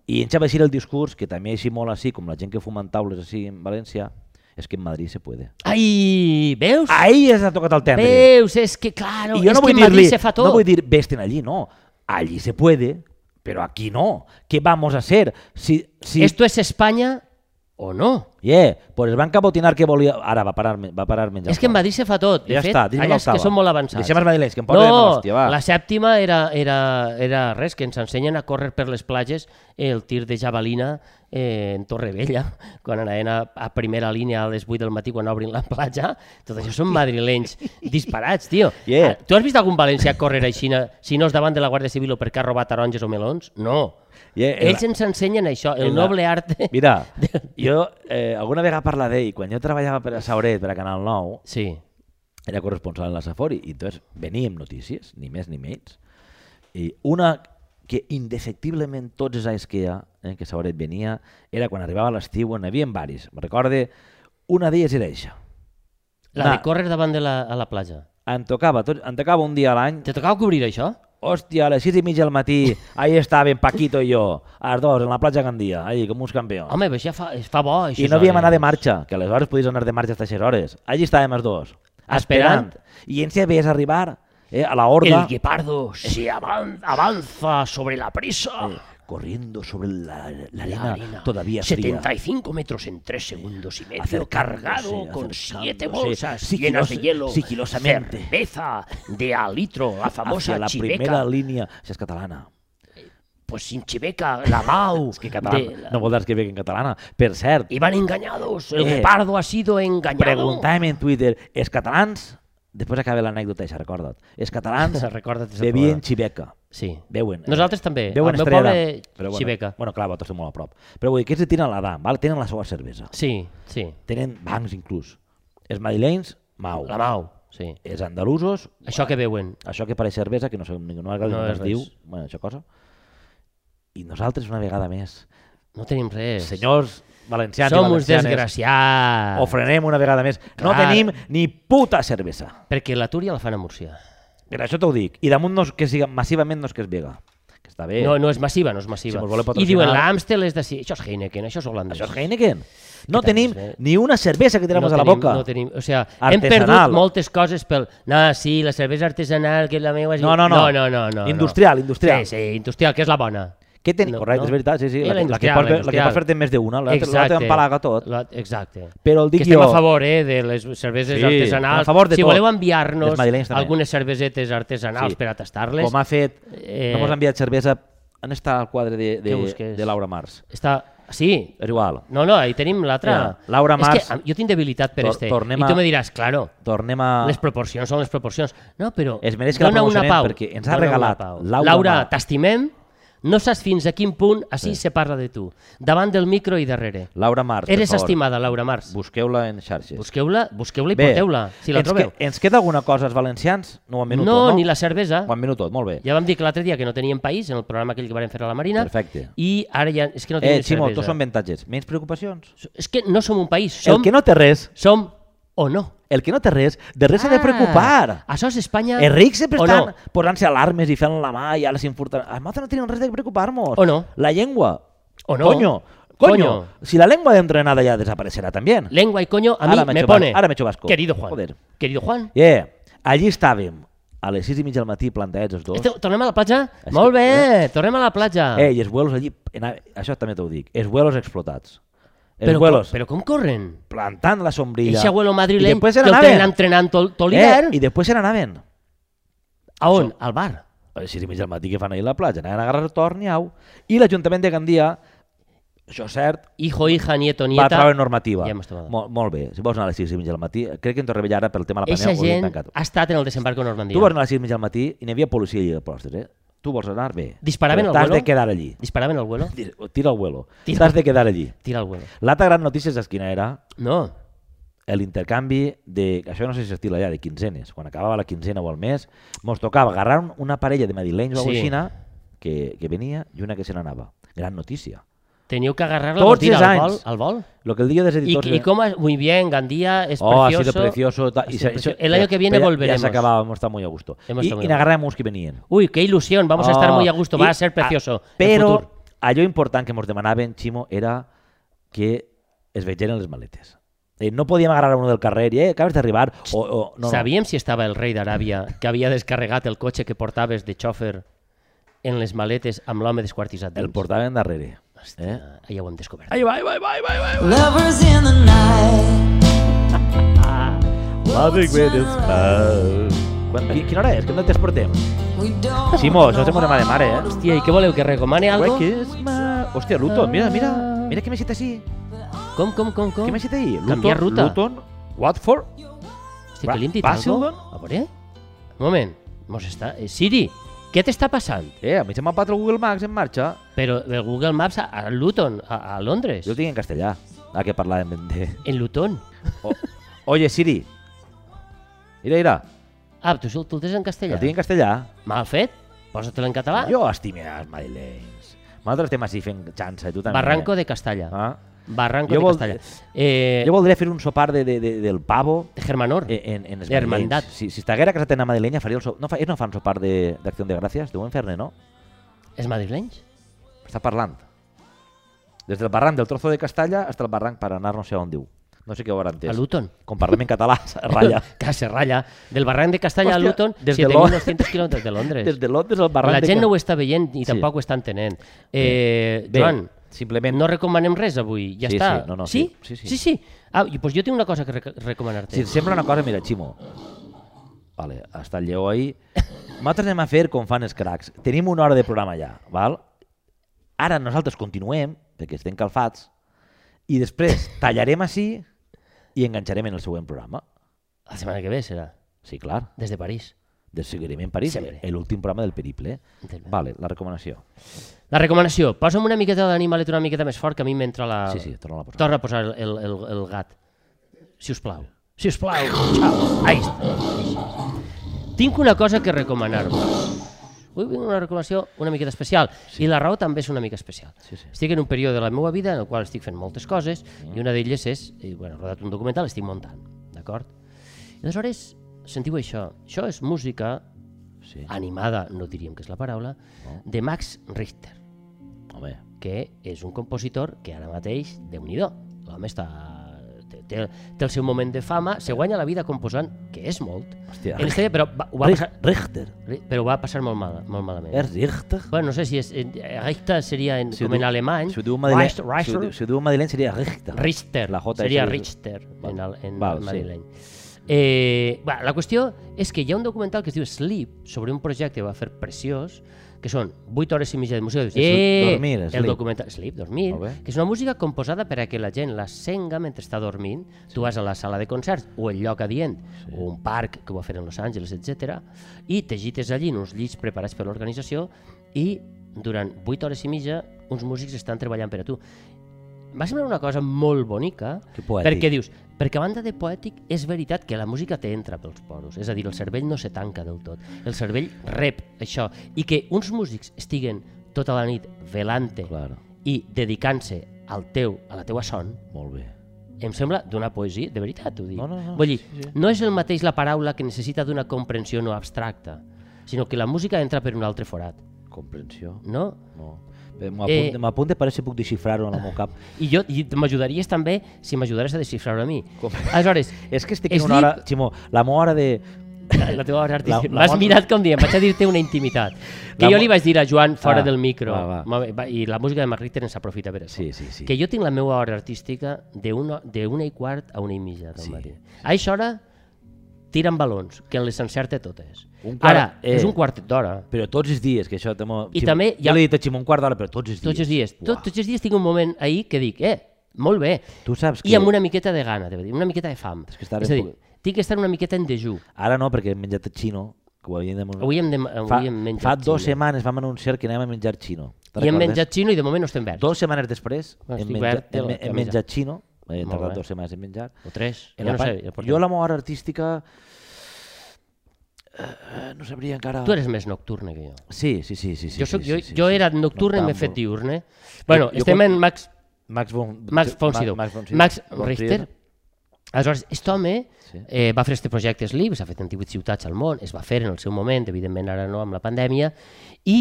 B: I ens va així el discurs, que també així molt així, com la gent que fuma en taules així en València, és que en Madrid se puede.
A: Ai, veus?
B: Ahí es ha tocat el tema.
A: Veus, és que, claro,
B: I jo
A: és
B: no
A: que
B: vull
A: en Madrid
B: dir-li,
A: se fa tot.
B: no vull dir, vesten allí, no. Allí se puede, però aquí no. Què vamos a hacer? Si, si...
A: Esto es España o no.
B: Yeah, pues es van capotinar que volia... Ara va parar, va parar menjar.
A: és que en Madrid se fa tot. De
B: Ja
A: fet,
B: està, digue'm
A: allà és que
B: l'octava.
A: són molt avançats.
B: Deixem els madrilenys, que em porten
A: no,
B: la hòstia, va.
A: la sèptima era, era, era res, que ens ensenyen a córrer per les platges el tir de javelina eh, en Torrevella, quan anaven a, a primera línia a les 8 del matí quan obrin la platja. Tot això són madrilenys disparats, tio.
B: Yeah.
A: Ah, Tu has vist algun valencià córrer així, si no és davant de la Guàrdia Civil o perquè ha robat taronges o melons? No.
B: Yeah, en la-
A: Ells ens ensenyen això, el
B: en la-
A: noble arte.
B: Mira, jo eh, alguna vegada parla d'ell, quan jo treballava per a Sauret, per a Canal 9,
A: Sí.
B: era corresponsal en la Safori, i entonces veníem notícies, ni més ni menys, i una que indefectiblement tots els anys que hi ha, eh, que Sauret venia, era quan arribava l'estiu, on hi havia varis. Me recorde, una d'elles era això.
A: La de córrer davant de la, a la platja.
B: Em tocava, tot, em tocava un dia a l'any,
A: Te tocava cobrir això?
B: Hòstia, a les 6 i mitja del matí, ahí estaven Paquito i jo, a les dos, en la platja Gandia, allí, com uns campions.
A: Home, però això pues fa, es fa bo, això.
B: I no havíem anat de marxa, que aleshores podies anar de marxa hasta 6 hores. Allí estàvem els dos,
A: Esperant.
B: esperant. I ens hi veies arribar, eh, a la horda,
A: El guepardo se avan- avanza sobre la prisa.
B: corriendo sobre la, la
A: La
B: arena,
A: arena.
B: todavía fría.
A: 75 metros en 3 segundos y medio,
B: Acercándose,
A: cargado con 7
B: acercándose,
A: bolsas
B: sigilos-
A: llenas de hielo,
B: sigilosamente.
A: cerveza de a litro, la famosa
B: Hacia la
A: chiveca,
B: primera línia, això és catalana.
A: pues sin chiveca, la mau,
B: És que catalana,
A: de-
B: no voldràs que veguen catalana. Per cert,
A: y van engañados, el
B: Eh,
A: guepardo ha sido engañado.
B: preguntàvem en Twitter, els catalans, després acaba l'anècdota, això, recorda't, els catalans
A: Recorda't aquesta
B: bevien
A: temporada.
B: xiveca.
A: Sí.
B: Veuen. eh,
A: Nosaltres també. Al
B: Veuen
A: meu
B: Estrella
A: poble,
B: Damm. Però bueno,
A: Xiveca.
B: Bueno, clar, vosaltres som molt a prop. Però vull dir, aquests tenen la dam, val? tenen la seva cervesa.
A: Sí, sí.
B: Tenen bancs, inclús. Els madrilenys, mau.
A: La mau, sí.
B: Els andalusos,
A: Això que veuen.
B: això que pareix cervesa, que no sé, ningú no m'agrada
A: No
B: no
A: és
B: es diu,
A: res.
B: bueno, això cosa. I nosaltres una vegada més.
A: No tenim res.
B: Senyors valencians
A: Som
B: i
A: uns
B: valencianes,
A: desgraciats.
B: ho frenem una vegada més. No
A: Clar.
B: tenim ni puta cervesa.
A: Perquè l'atur ja la fan a Múrcia.
B: Per això t'ho dic. I damunt no és que siga massivament no és que es vega. Que està bé.
A: No, no és massiva, no és massiva.
B: Eh. Si mos voleu
A: I diuen,
B: patrocinar-
A: l'Amstel és d'ací. Això és Heineken, això és holandès.
B: Això és Heineken. No
A: Què tal,
B: tenim
A: eh?
B: ni una cervesa que tiramos
A: no
B: a la
A: tenim,
B: boca.
A: No tenim, o sigui, hem
B: Artesanal.
A: perdut moltes coses pel... No, sí, la cervesa artesanal, que és la meva... és-
B: No, no,
A: no,
B: no.
A: no, no, no.
B: Industrial, industrial.
A: Sí, sí, industrial, que és la bona.
B: Què ten...
A: No,
B: Correcte,
A: no.
B: és veritat, sí, sí.
A: Eh,
B: La,
A: la
B: que- la, que
A: industrial,
B: pots,
A: la
B: fer- la que pots
A: industrial.
B: fer-te més d'una, l'altra l'altra
A: Exacte.
B: empalaga tot.
A: La, exacte.
B: Però el dic
A: que estem
B: jo-
A: a favor eh, de les cerveses
B: Sí,
A: artesanals.
B: a favor de
A: si
B: tot.
A: voleu
B: Les
A: enviar-nos
B: madrilenyes també.
A: algunes cervesetes artesanals
B: Sí.
A: per a tastar-les,
B: Com ha fet...
A: Eh,
B: No mos ha enviat cervesa... On està el quadre de, de,
A: Què busques?
B: de Laura Mars?
A: està... Sí,
B: És igual.
A: no, no, ahí tenim l'altra.
B: Ja, Laura
A: És
B: Mars-
A: que a- jo tinc debilitat per
B: Tor-
A: este.
B: tornem
A: I
B: a-
A: tu me diràs, claro,
B: Tornem a...
A: les proporcions són les proporcions. No, però
B: Es mereix que la
A: dona una
B: promocionem
A: pau.
B: perquè ens ha
A: dona una
B: regalat
A: pau.
B: Laura
A: Laura
B: Mar.
A: t'estimem. No saps fins a quin punt així sí. se parla de tu. Davant del micro i darrere.
B: Laura Mars, per
A: Eres
B: favor.
A: estimada, Laura Mars.
B: Busqueu-la en xarxes.
A: Busqueu-la busqueu i
B: Bé,
A: porteu-la, si la
B: ens,
A: trobeu.
B: Que, ens queda alguna cosa als valencians? No ho han venut
A: no,
B: tot, no?
A: ni la cervesa.
B: Ho han venut tot, molt bé.
A: Ja vam dir que l'altre dia que no teníem país, en el programa aquell que vam fer a la Marina.
B: Perfecte.
A: I ara ja... És que no tenim
B: eh, Ximo,
A: cervesa.
B: tots són avantatges. Menys preocupacions.
A: És que no som un país, som,
B: El que no té res,
A: som o no.
B: el que no té res, de res s'ha de preocupar. Eh,
A: Ah, això és Espanya
B: Els rics sempre
A: o
B: estan
A: no.
B: posant-se alarmes i fent la mà i ara s'infurten. A nosaltres no tenim res de preocupar-nos.
A: O no.
B: La llengua.
A: O no.
B: Coño. Coño.
A: Coño.
B: Si la lengua de entrenada ya desaparecerá también.
A: Lengua y coño, a
B: Ahora
A: mí
B: me
A: me,
B: hecho
A: pone.
B: vas- ahora me hecho vasco.
A: Querido Juan.
B: Joder.
A: Querido Juan.
B: Yeah. Allí estàvem, a les 6 i mitja del matí, plantats els dos.
A: Esteu, Este, tornem a la platja?
B: És
A: Molt
B: que-
A: bé, tornem a la platja.
B: Eh, i els vuelos allí, en, això també t'ho dic, els vuelos explotats. Els
A: però, com,
B: vuelos
A: però com corren?
B: plantant la sombrilla.
A: Eixe abuelo
B: I
A: madrileny que
B: després se
A: el
B: n'anaven.
A: tenen entrenant tot tot l'hivern.
B: Eh, I després se n'anaven.
A: A on? Al bar.
B: A les 6 i mitja del matí que fan ahir a la platja, anaven a agarrar torn i au. I l'Ajuntament de Gandia, això és cert,
A: Hijo, hija, nieto,
B: va
A: nieta.
B: treure normativa.
A: Ja hem estat.
B: Mol, molt bé, si vols anar a les 6 i mitja del matí, crec que en Torrevella ara pel tema de la
A: Eixa
B: pandèmia ho havien
A: gent
B: tancat.
A: ha estat en el desembarco a Normandia.
B: Tu vols anar a les 6 i mitja del matí i n'hi havia policia allí de postres, eh? Tu vols anar bé.
A: Disparaven
B: però
A: al
B: T'has de
A: vuelo?
B: quedar allí.
A: Disparaven al vuelo?
B: Tira- Tira el vuelo.
A: Tira-
B: T'has de quedar allí.
A: Tira al vuelo.
B: L'altra gran notícia és quina era?
A: No.
B: l'intercanvi de, això no sé si s'estila ja, de quinzenes, quan acabava la quinzena o el mes, mos tocava agarrar un- una parella de madrilenys o
A: Sí.
B: sí. Xina que, que venia i una que se n'anava. Gran notícia.
A: Teniu que agarrar-la
B: Tots
A: mentida
B: els
A: al vol.
B: anys.
A: Al vol.
B: Lo que el dia dels
A: I,
B: editors...
A: y cómo es- muy bien, Gandía es
B: Oh,
A: precioso.
B: ha sido precioso. ta-
A: Ha
B: y
A: sido
B: se-
A: precioso.
B: eso-
A: El año que viene
B: ya-
A: volveremos.
B: Ya se acababa, hemos estado muy a gusto.
A: Hemos
B: y
A: estado muy
B: y
A: a gusto.
B: agarramos que venían.
A: Uy, qué ilusión, vamos a estar muy a gusto, va
B: Ah, Y-
A: a ser precioso.
B: ah,
A: el
B: però
A: futuro.
B: allò important que ens demanaven, Ximo, era que es vegeren les maletes. Eh, no podíem agarrar a uno del carrer i eh, acabes d'arribar o, o no, no.
A: Sabíem si estava el rei d'Aràbia que havia descarregat el cotxe que portaves de xòfer en les maletes amb l'home desquartitzat dins.
B: el portaven darrere. Eh?
A: Ah, ja ho hem descobert.
B: Ahí va, ahí va, ahí va, ahí va, ahí va.
D: Lovers in the night.
B: Loving with its Quan, qui, quina hora és? Que no tens portem.
D: We don't
B: Simó, això
D: know
B: té un tema de mare, eh?
A: Hòstia, i què voleu, que recomane algo?
B: Wake is my- Hòstia, Luton, mira, mira. Mira què m'he citat així.
A: Com, com, com, com?
B: Què m'he citat ahir?
A: Canviar
B: Luton,
A: ruta.
B: Luton, Watford.
A: Hòstia, que li hem dit
B: Basildan?
A: algo? A veure? Un moment. Mos està... Eh, Siri, què t'està passant?
B: Eh, a mi se m'ha pat el Google Maps en marxa.
A: Però el Google Maps a, a Luton, a, a Londres.
B: Jo el tinc en castellà. Ah, que parlàvem de...
A: En Luton.
B: O... Oye, Siri. Mira, mira,
A: Ah, tu, tu el tens en
B: que
A: castellà.
B: el tinc en castellà.
A: Mal fet. Posa-te'l en català.
B: Jo estime els madrilenys. Nosaltres estem així fent xança, i tu també.
A: Barranco de Castalla.
B: eh. Ah.
A: Barranco
B: Jo
A: de
B: vol-
A: Castalla. Eh,
B: Jo Eh. voldria fer un sopar de, de, de, del pavo
A: Germanor.
B: en, en, en els
A: De hermandat.
B: madrilenys. Si, si estiguera casat en la madrilenya, faria el sopar. No, fa, ells no fan sopar de- d'Acció de, de Gràcies? Deuen fer-ne, no?
A: És madrilenys?
B: Està parlant. Des del barranc del trozo de Castalla fins al barranc per anar no sé on diu. No sé què ho haurà entès.
A: A Luton.
B: Com parlem en català, es ratlla.
A: Que se ratlla. Del barranc de Castalla
B: Hòstia,
A: a Luton,
B: des de
A: 7.900 quilòmetres de Londres.
B: Des de Londres al barranc
A: La
B: de...
A: gent no ho està veient i
B: Sí.
A: tampoc ho està entenent. Eh,
B: Bé,
A: Joan,
B: simplement...
A: no recomanem res avui, ja
B: Sí,
A: està.
B: sí, no, no,
A: sí?
B: sí, sí, sí.
A: sí, Ah, i, doncs jo tinc una cosa que rec recomanar-te.
B: Si et sembla una cosa, mira, Ximo. Vale, està el lleó ahir. Nosaltres anem a fer com fan els cracs. Tenim una hora de programa ja, val? Ara nosaltres continuem, perquè estem calfats, i després tallarem així i enganxarem en el següent programa.
A: La setmana que ve serà,
B: Sí, clar.
A: des de París.
B: Des seguirem en París,
A: Sempre.
B: l'últim programa del periple. Eh?
A: Entenc.
B: Vale, la recomanació.
A: La recomanació, posa'm una miqueta d'animalet una miqueta més fort que a mi m'entra la...
B: Sí, sí, torna a posar.
A: Torna a posar el, el, el, el gat. Si us plau. Si us plau. Xau. Ahí està. Tinc una cosa que recomanar-vos. Avui vull una recomanació una miqueta especial. I la raó també és una mica especial.
B: Sí, sí.
A: Estic en un període de la meva vida en el qual estic fent moltes coses i una d'elles és, i, bueno, he rodat un documental, estic muntant, d'acord? I aleshores, sentiu això. Això és música
B: Sí.
A: animada, no diríem que és la paraula, de Max Richter,
B: Home,
A: que és un compositor que ara mateix, déu nhi l'home està... Té, té, té el seu moment de fama, se guanya la vida composant, que és molt,
B: Hòstia,
A: en este, però, va, ho va, passar,
B: Rich- Richter.
A: però ho va passar molt, mal, molt malament.
B: És Richter?
A: Bueno, no sé si és, en- eh, Richter seria en,
B: Si ho
A: com en
B: diu-
A: alemany.
B: Si ho diu madrileny,
A: Richter,
B: si ho diu-
A: Richter,
B: si ho diu madrileny seria Richter.
A: Richter,
B: La J
A: seria
B: és-
A: Richter en, el, en
B: Val,
A: el
B: sí.
A: madrileny. Eh, va, la qüestió és que hi ha un documental que es diu Sleep, sobre un projecte que va fer preciós, que són 8 hores i mitja de música.
B: És Eh, dormir,
A: el
B: Sleep.
A: documental Sleep, dormir,
B: Molt bé.
A: que és una música composada per a que la gent la senga mentre està dormint. Tu vas a la sala de concerts o el lloc adient, o un parc que ho va fer en Los Angeles, etc. I t'agites allí en uns llits preparats per l'organització i durant 8 hores i mitja uns músics estan treballant per a tu. Va semblar una cosa molt bonica,
B: Que poètic.
A: perquè dius, perquè a banda de poètic, és veritat que la música t'entra pels poros, és a dir, el cervell no se tanca del tot, el cervell rep això, i que uns músics estiguen tota la nit velant-te
B: Claro,
A: i dedicant-se al teu, a la teua son,
B: molt bé.
A: em sembla d'una poesia, de veritat ho dic.
B: No, no, no,
A: Vull dir,
B: sí, sí.
A: no és el mateix la paraula que necessita d'una comprensió no abstracta, sinó que la música entra per un altre forat,
B: Comprensió.
A: no?
B: No. Bé, M'apunte,
A: Eh.
B: m'apunte per veure si puc desxifrar-ho en el meu cap.
A: I jo i m'ajudaries també si m'ajudares a desxifrar-ho a mi.
B: Com?
A: Aleshores,
B: És que estic en una
A: Sleep-
B: hora, Ximó, la meva hora de...
A: la teva hora artificial.
B: La- la
A: M'has
B: mon-
A: mirat com diem, vaig a dir-te una intimitat. Que
B: La
A: jo
B: mon-
A: li vaig dir a Joan fora
B: Ah,
A: del micro,
B: va, va.
A: ma- va, i la música de Mark Richter ens aprofita per això.
B: Sí, sí, sí.
A: Que jo tinc la meva hora artística de una, de una i quart a una i mitja del
B: Sí,
A: matí. A aquesta hora tiren balons, que les encerta totes.
B: Un quart-
A: Ara,
B: eh.
A: és un quartet d'hora.
B: Però tots els dies, que això... Temo,
A: I també hi
B: Jo
A: ha-
B: li he dit a Ximó un quart d'hora, però tots els dies.
A: Tots els dies.
B: Uah.
A: Tot, tots els dies tinc un moment ahir que dic, eh, molt bé.
B: Tu saps
A: I
B: que...
A: amb una miqueta de gana, de veritat, una miqueta de fam.
B: que estaré
A: és a dir,
B: poc-
A: tinc que estar una miqueta en dejú.
B: Ara no, perquè hem menjat xino, que ho havíem de...
A: Avui hem, de, avui
B: fa,
A: hem menjat
B: fa dues
A: xino.
B: setmanes vam anunciar que anàvem a menjar xino. Te'n
A: I hem
B: recordes?
A: menjat xino i de moment no estem verds.
B: Dues setmanes després
A: Bueno,
B: hem
A: estic
B: menjat,
A: verd,
B: hem,
A: té la
B: hem
A: camisa.
B: menjat xino, hem
A: Molt
B: tardat
A: bé.
B: dues setmanes en menjar.
A: O tres.
B: En
A: Ja
B: la
A: no
B: part-
A: sé, ja portem.
B: jo la meva hora artística... eh, no sabria encara...
A: Tu eres més nocturne que jo.
B: Sí, sí, sí. sí, sí
A: jo, soc,
B: sí,
A: jo,
B: sí,
A: jo
B: sí.
A: era nocturne i m'he fet
B: Noctàmbul.
A: diurne. Bueno,
B: jo
A: estem
B: quan-
A: en Max,
B: Max von...
A: Max von
B: Ma-
A: Sydow.
B: Max, von Sydow.
A: Max
B: Von
A: Richter.
B: Sydow.
A: Aleshores, aquest home
B: Sí.
A: eh, va fer este projecte Sleep, s'ha fet en 18 ciutats al món, es va fer en el seu moment, evidentment ara no amb la pandèmia, i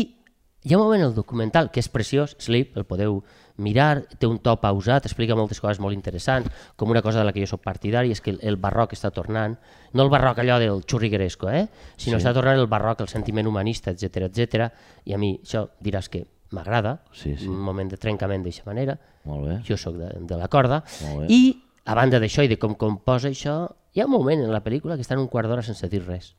A: hi ha un moment en el documental, que és preciós, Sleep, el podeu mirar, té un to pausat, explica moltes coses molt interessants, com una cosa de la que jo sóc partidari, és que el, el barroc està tornant, no el barroc allò del xurrigueresco, eh? sinó sí. està tornant el barroc, el sentiment humanista, etc etc. i a mi això diràs que m'agrada,
B: Sí, sí.
A: un moment de trencament d'aquesta manera,
B: Molt bé.
A: jo sóc de, de la corda,
B: Molt bé.
A: i a banda d'això i de com composa això, hi ha un moment en la pel·lícula que estan un quart d'hora sense dir res.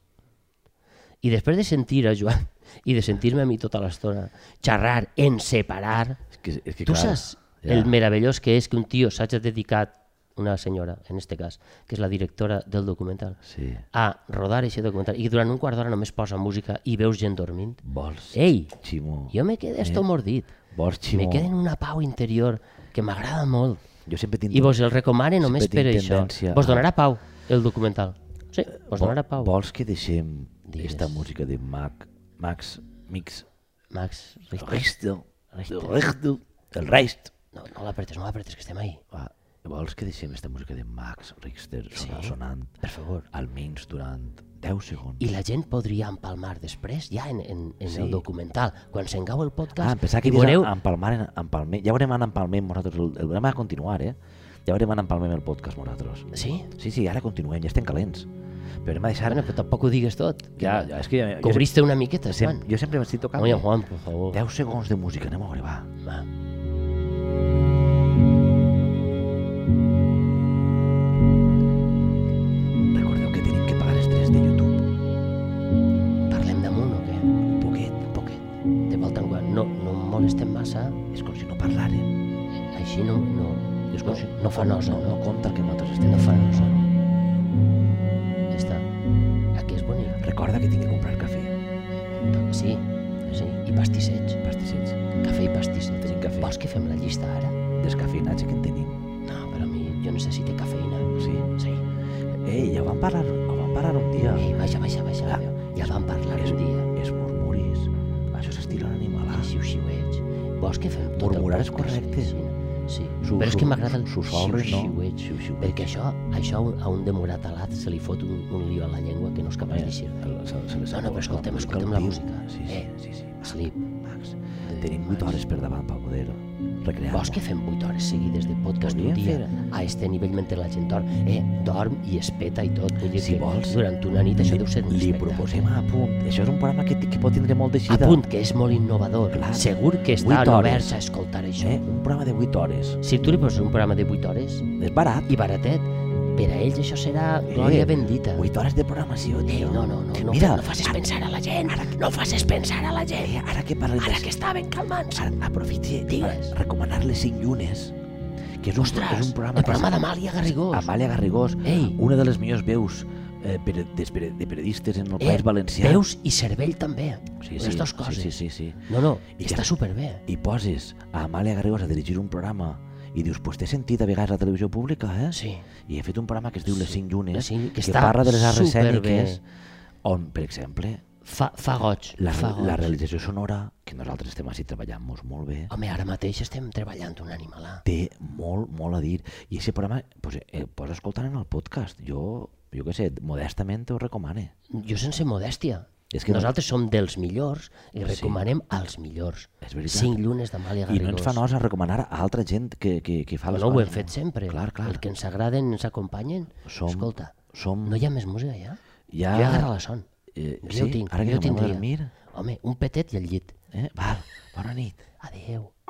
A: I després de sentir a Joan i de sentir-me a mi tota l'estona xerrar en separar,
B: És que, és que,
A: tu
B: clar,
A: saps el meravellós que és que un tio s'hagi dedicat, una senyora, en este cas, que és la directora del documental,
B: Sí.
A: a rodar aquest documental i durant un quart d'hora només posa música i veus gent dormint.
B: Vols,
A: Ei,
B: Ximo.
A: Eh? jo me quedé esto mordit.
B: Vols,
A: Me
B: Ximo.
A: queda en una pau interior que m'agrada molt.
B: Jo sempre tinc...
A: I vos el recomane només
B: Sempre
A: per
B: tinc
A: això.
B: tendència
A: Vos
B: a-
A: donarà pau, el documental. Sí, vos donarà pau.
B: Vols que deixem
A: Digues.
B: aquesta música de Mac, Max, Mix,
A: Max, Richter,
B: Richter,
A: Richter.
B: Richter, Richter, el Reist.
A: no, no l'apretes, no l'apretes, que estem ahí.
B: Va, vols que deixem aquesta música de Max Richter sona, sonant,
A: Per favor.
B: almenys durant 10 segons?
A: I la gent podria empalmar després, ja en, en, en sí.
B: Sí.
A: el documental, quan s'engau el podcast.
B: Ah, em pensava que
A: i
B: dius
A: veureu...
B: veureu... empalmar, empalmar, ja veurem en empalmem nosaltres, el, el programa ha de continuar, eh? Ja veurem en empalmem el podcast nosaltres.
A: Sí?
B: Sí, sí, ara continuem, ja estem calents. Però hem de deixar...
A: Bueno, però tampoc ho digues tot.
B: ja, ja, és que ja...
A: Cobriste una miqueta,
B: Jo, sem
A: Joan.
B: jo sempre m'estic tocant.
A: Oye, Juan, por favor.
B: 10 segons de música, anem a veure, va.
A: Va.
B: Recordeu que tenim que pagar els tres de YouTube.
A: Parlem damunt o què?
B: Un poquet,
A: Poquet. De volta en quan. No, no em molestem massa.
B: és com si no parlàrem.
A: Així no, no,
B: És
A: no,
B: com si
A: no fa nosa,
B: no,
A: no?
B: no compta el que nosaltres estem
A: No fa
B: fent.
A: nosa, no? Ja està. Aquí és bonic.
B: Recorda que tinc que comprar cafè.
A: Sí, sí, i pastissets.
B: Pastissets.
A: Cafè i pastissets.
B: Tenim cafè.
A: Vols que fem la llista ara?
B: Descafeinatge que en tenim.
A: No, però a mi jo necessito cafeïna.
B: Sí.
A: Sí.
B: Ei, ja vam parlar, ho vam parlar un dia.
A: Ei, baixa, baixa, baixa.
B: Ah,
A: Ja vam parlar
B: és,
A: un dia.
B: És murmuris.
A: llavors què fem? Tot
B: Murmurar
A: el
B: és
A: podcast,
B: correcte.
A: Sí, sí.
B: Su-
A: Però és
B: su-
A: que m'agrada el
B: sus obres, no?
A: xiu-xiuet, xiu-xiuet, perquè això, això a un- a un demorat alat se li fot un, un lío a la llengua que no és capaç
B: Eh,
A: de dir
B: el- se- se li
A: No,
B: sap
A: no,
B: el-
A: però escoltem,
B: el-
A: escoltem
B: el
A: la
B: viu.
A: música.
B: Ah, Sí, sí,
A: eh,
B: sí, sí.
A: Sleep.
B: Max,
A: De
B: tenim 8
A: maig.
B: hores per davant per poder recrear
A: Vols que fem 8 hores seguides de podcast
B: Podríem
A: un dia?
B: fer- eh?
A: A este nivell mentre la gent dorm, eh, dorm i es peta i tot. Vull dir
B: Si
A: que
B: vols,
A: durant una nit això deu ser un
B: Li
A: espectacle.
B: proposem a punt. Això és un programa que, que pot tindre molt
A: A
B: d'eixida.
A: punt, que és molt innovador.
B: Clar.
A: Segur que
B: Vuit
A: estan
B: hores.
A: oberts a escoltar això.
B: Eh? Un programa de 8 hores.
A: Si tu li poses un programa de 8 hores
B: És barat.
A: i baratet, per a ells això serà glòria bendita.
B: 8 Eh? hores de programació,
A: Eh,
B: tio.
A: no, no, no, no,
B: Mira,
A: no facis pensar a la gent. no facis pensar a la gent.
B: eh, ara que parlem
A: Ara
B: de-
A: que estaven calmants.
B: Ara, aprofite
A: Digues.
B: per recomanar les 5 llunes, que és un,
A: Ostres,
B: és un programa...
A: el programa d'Amàlia Garrigós.
B: Amàlia Garrigós,
A: Ei.
B: una de les millors veus eh, per, des, per, de periodistes en el
A: Eh,
B: País Valencià.
A: Veus i cervell també. Les dues coses.
B: Sí, sí, sí, sí.
A: No, no,
B: I
A: està
B: que-
A: superbé.
B: I poses a Amàlia Garrigós a dirigir un programa i dius, pues t'he sentit a vegades a la televisió pública, eh?
A: Sí.
B: I he fet un programa que es diu Les 5 llunes,
A: Les cinc- que
B: que,
A: està
B: parla de les arts
A: superbé.
B: escèniques, on, per exemple,
A: Fa, fa goig,
B: la,
A: fa goig.
B: la realització sonora, que nosaltres estem així treballant-nos molt bé,
A: Home, ara mateix estem treballant un animalà.
B: té molt, molt a dir. I aquest programa, pues, eh, pots escoltar en el podcast. Jo, jo què sé, modestament ho recomano.
A: Jo sense modèstia.
B: És
A: És que
B: que no-
A: Nosaltres som dels millors i recomanem als millors.
B: És veritat.
A: Cinc llunes d'Amàlia
B: I
A: Garrigós.
B: no ens fa nosa recomanar a altra gent que, que, que fa
A: Però
B: les
A: no ho
B: coses,
A: hem fet sempre.
B: Clar, clar.
A: El que ens agraden ens acompanyen.
B: Som-
A: Escolta,
B: som-
A: no hi ha més música ja?
B: Ja-
A: Jo ja agarra la son.
B: Eh,
A: jo
B: sí?
A: ho tinc,
B: Ara que
A: jo ho
B: anem a
A: tindria.
B: dormir?
A: Home, un petet i el llit.
B: Eh? Val, bona nit.
A: Adéu.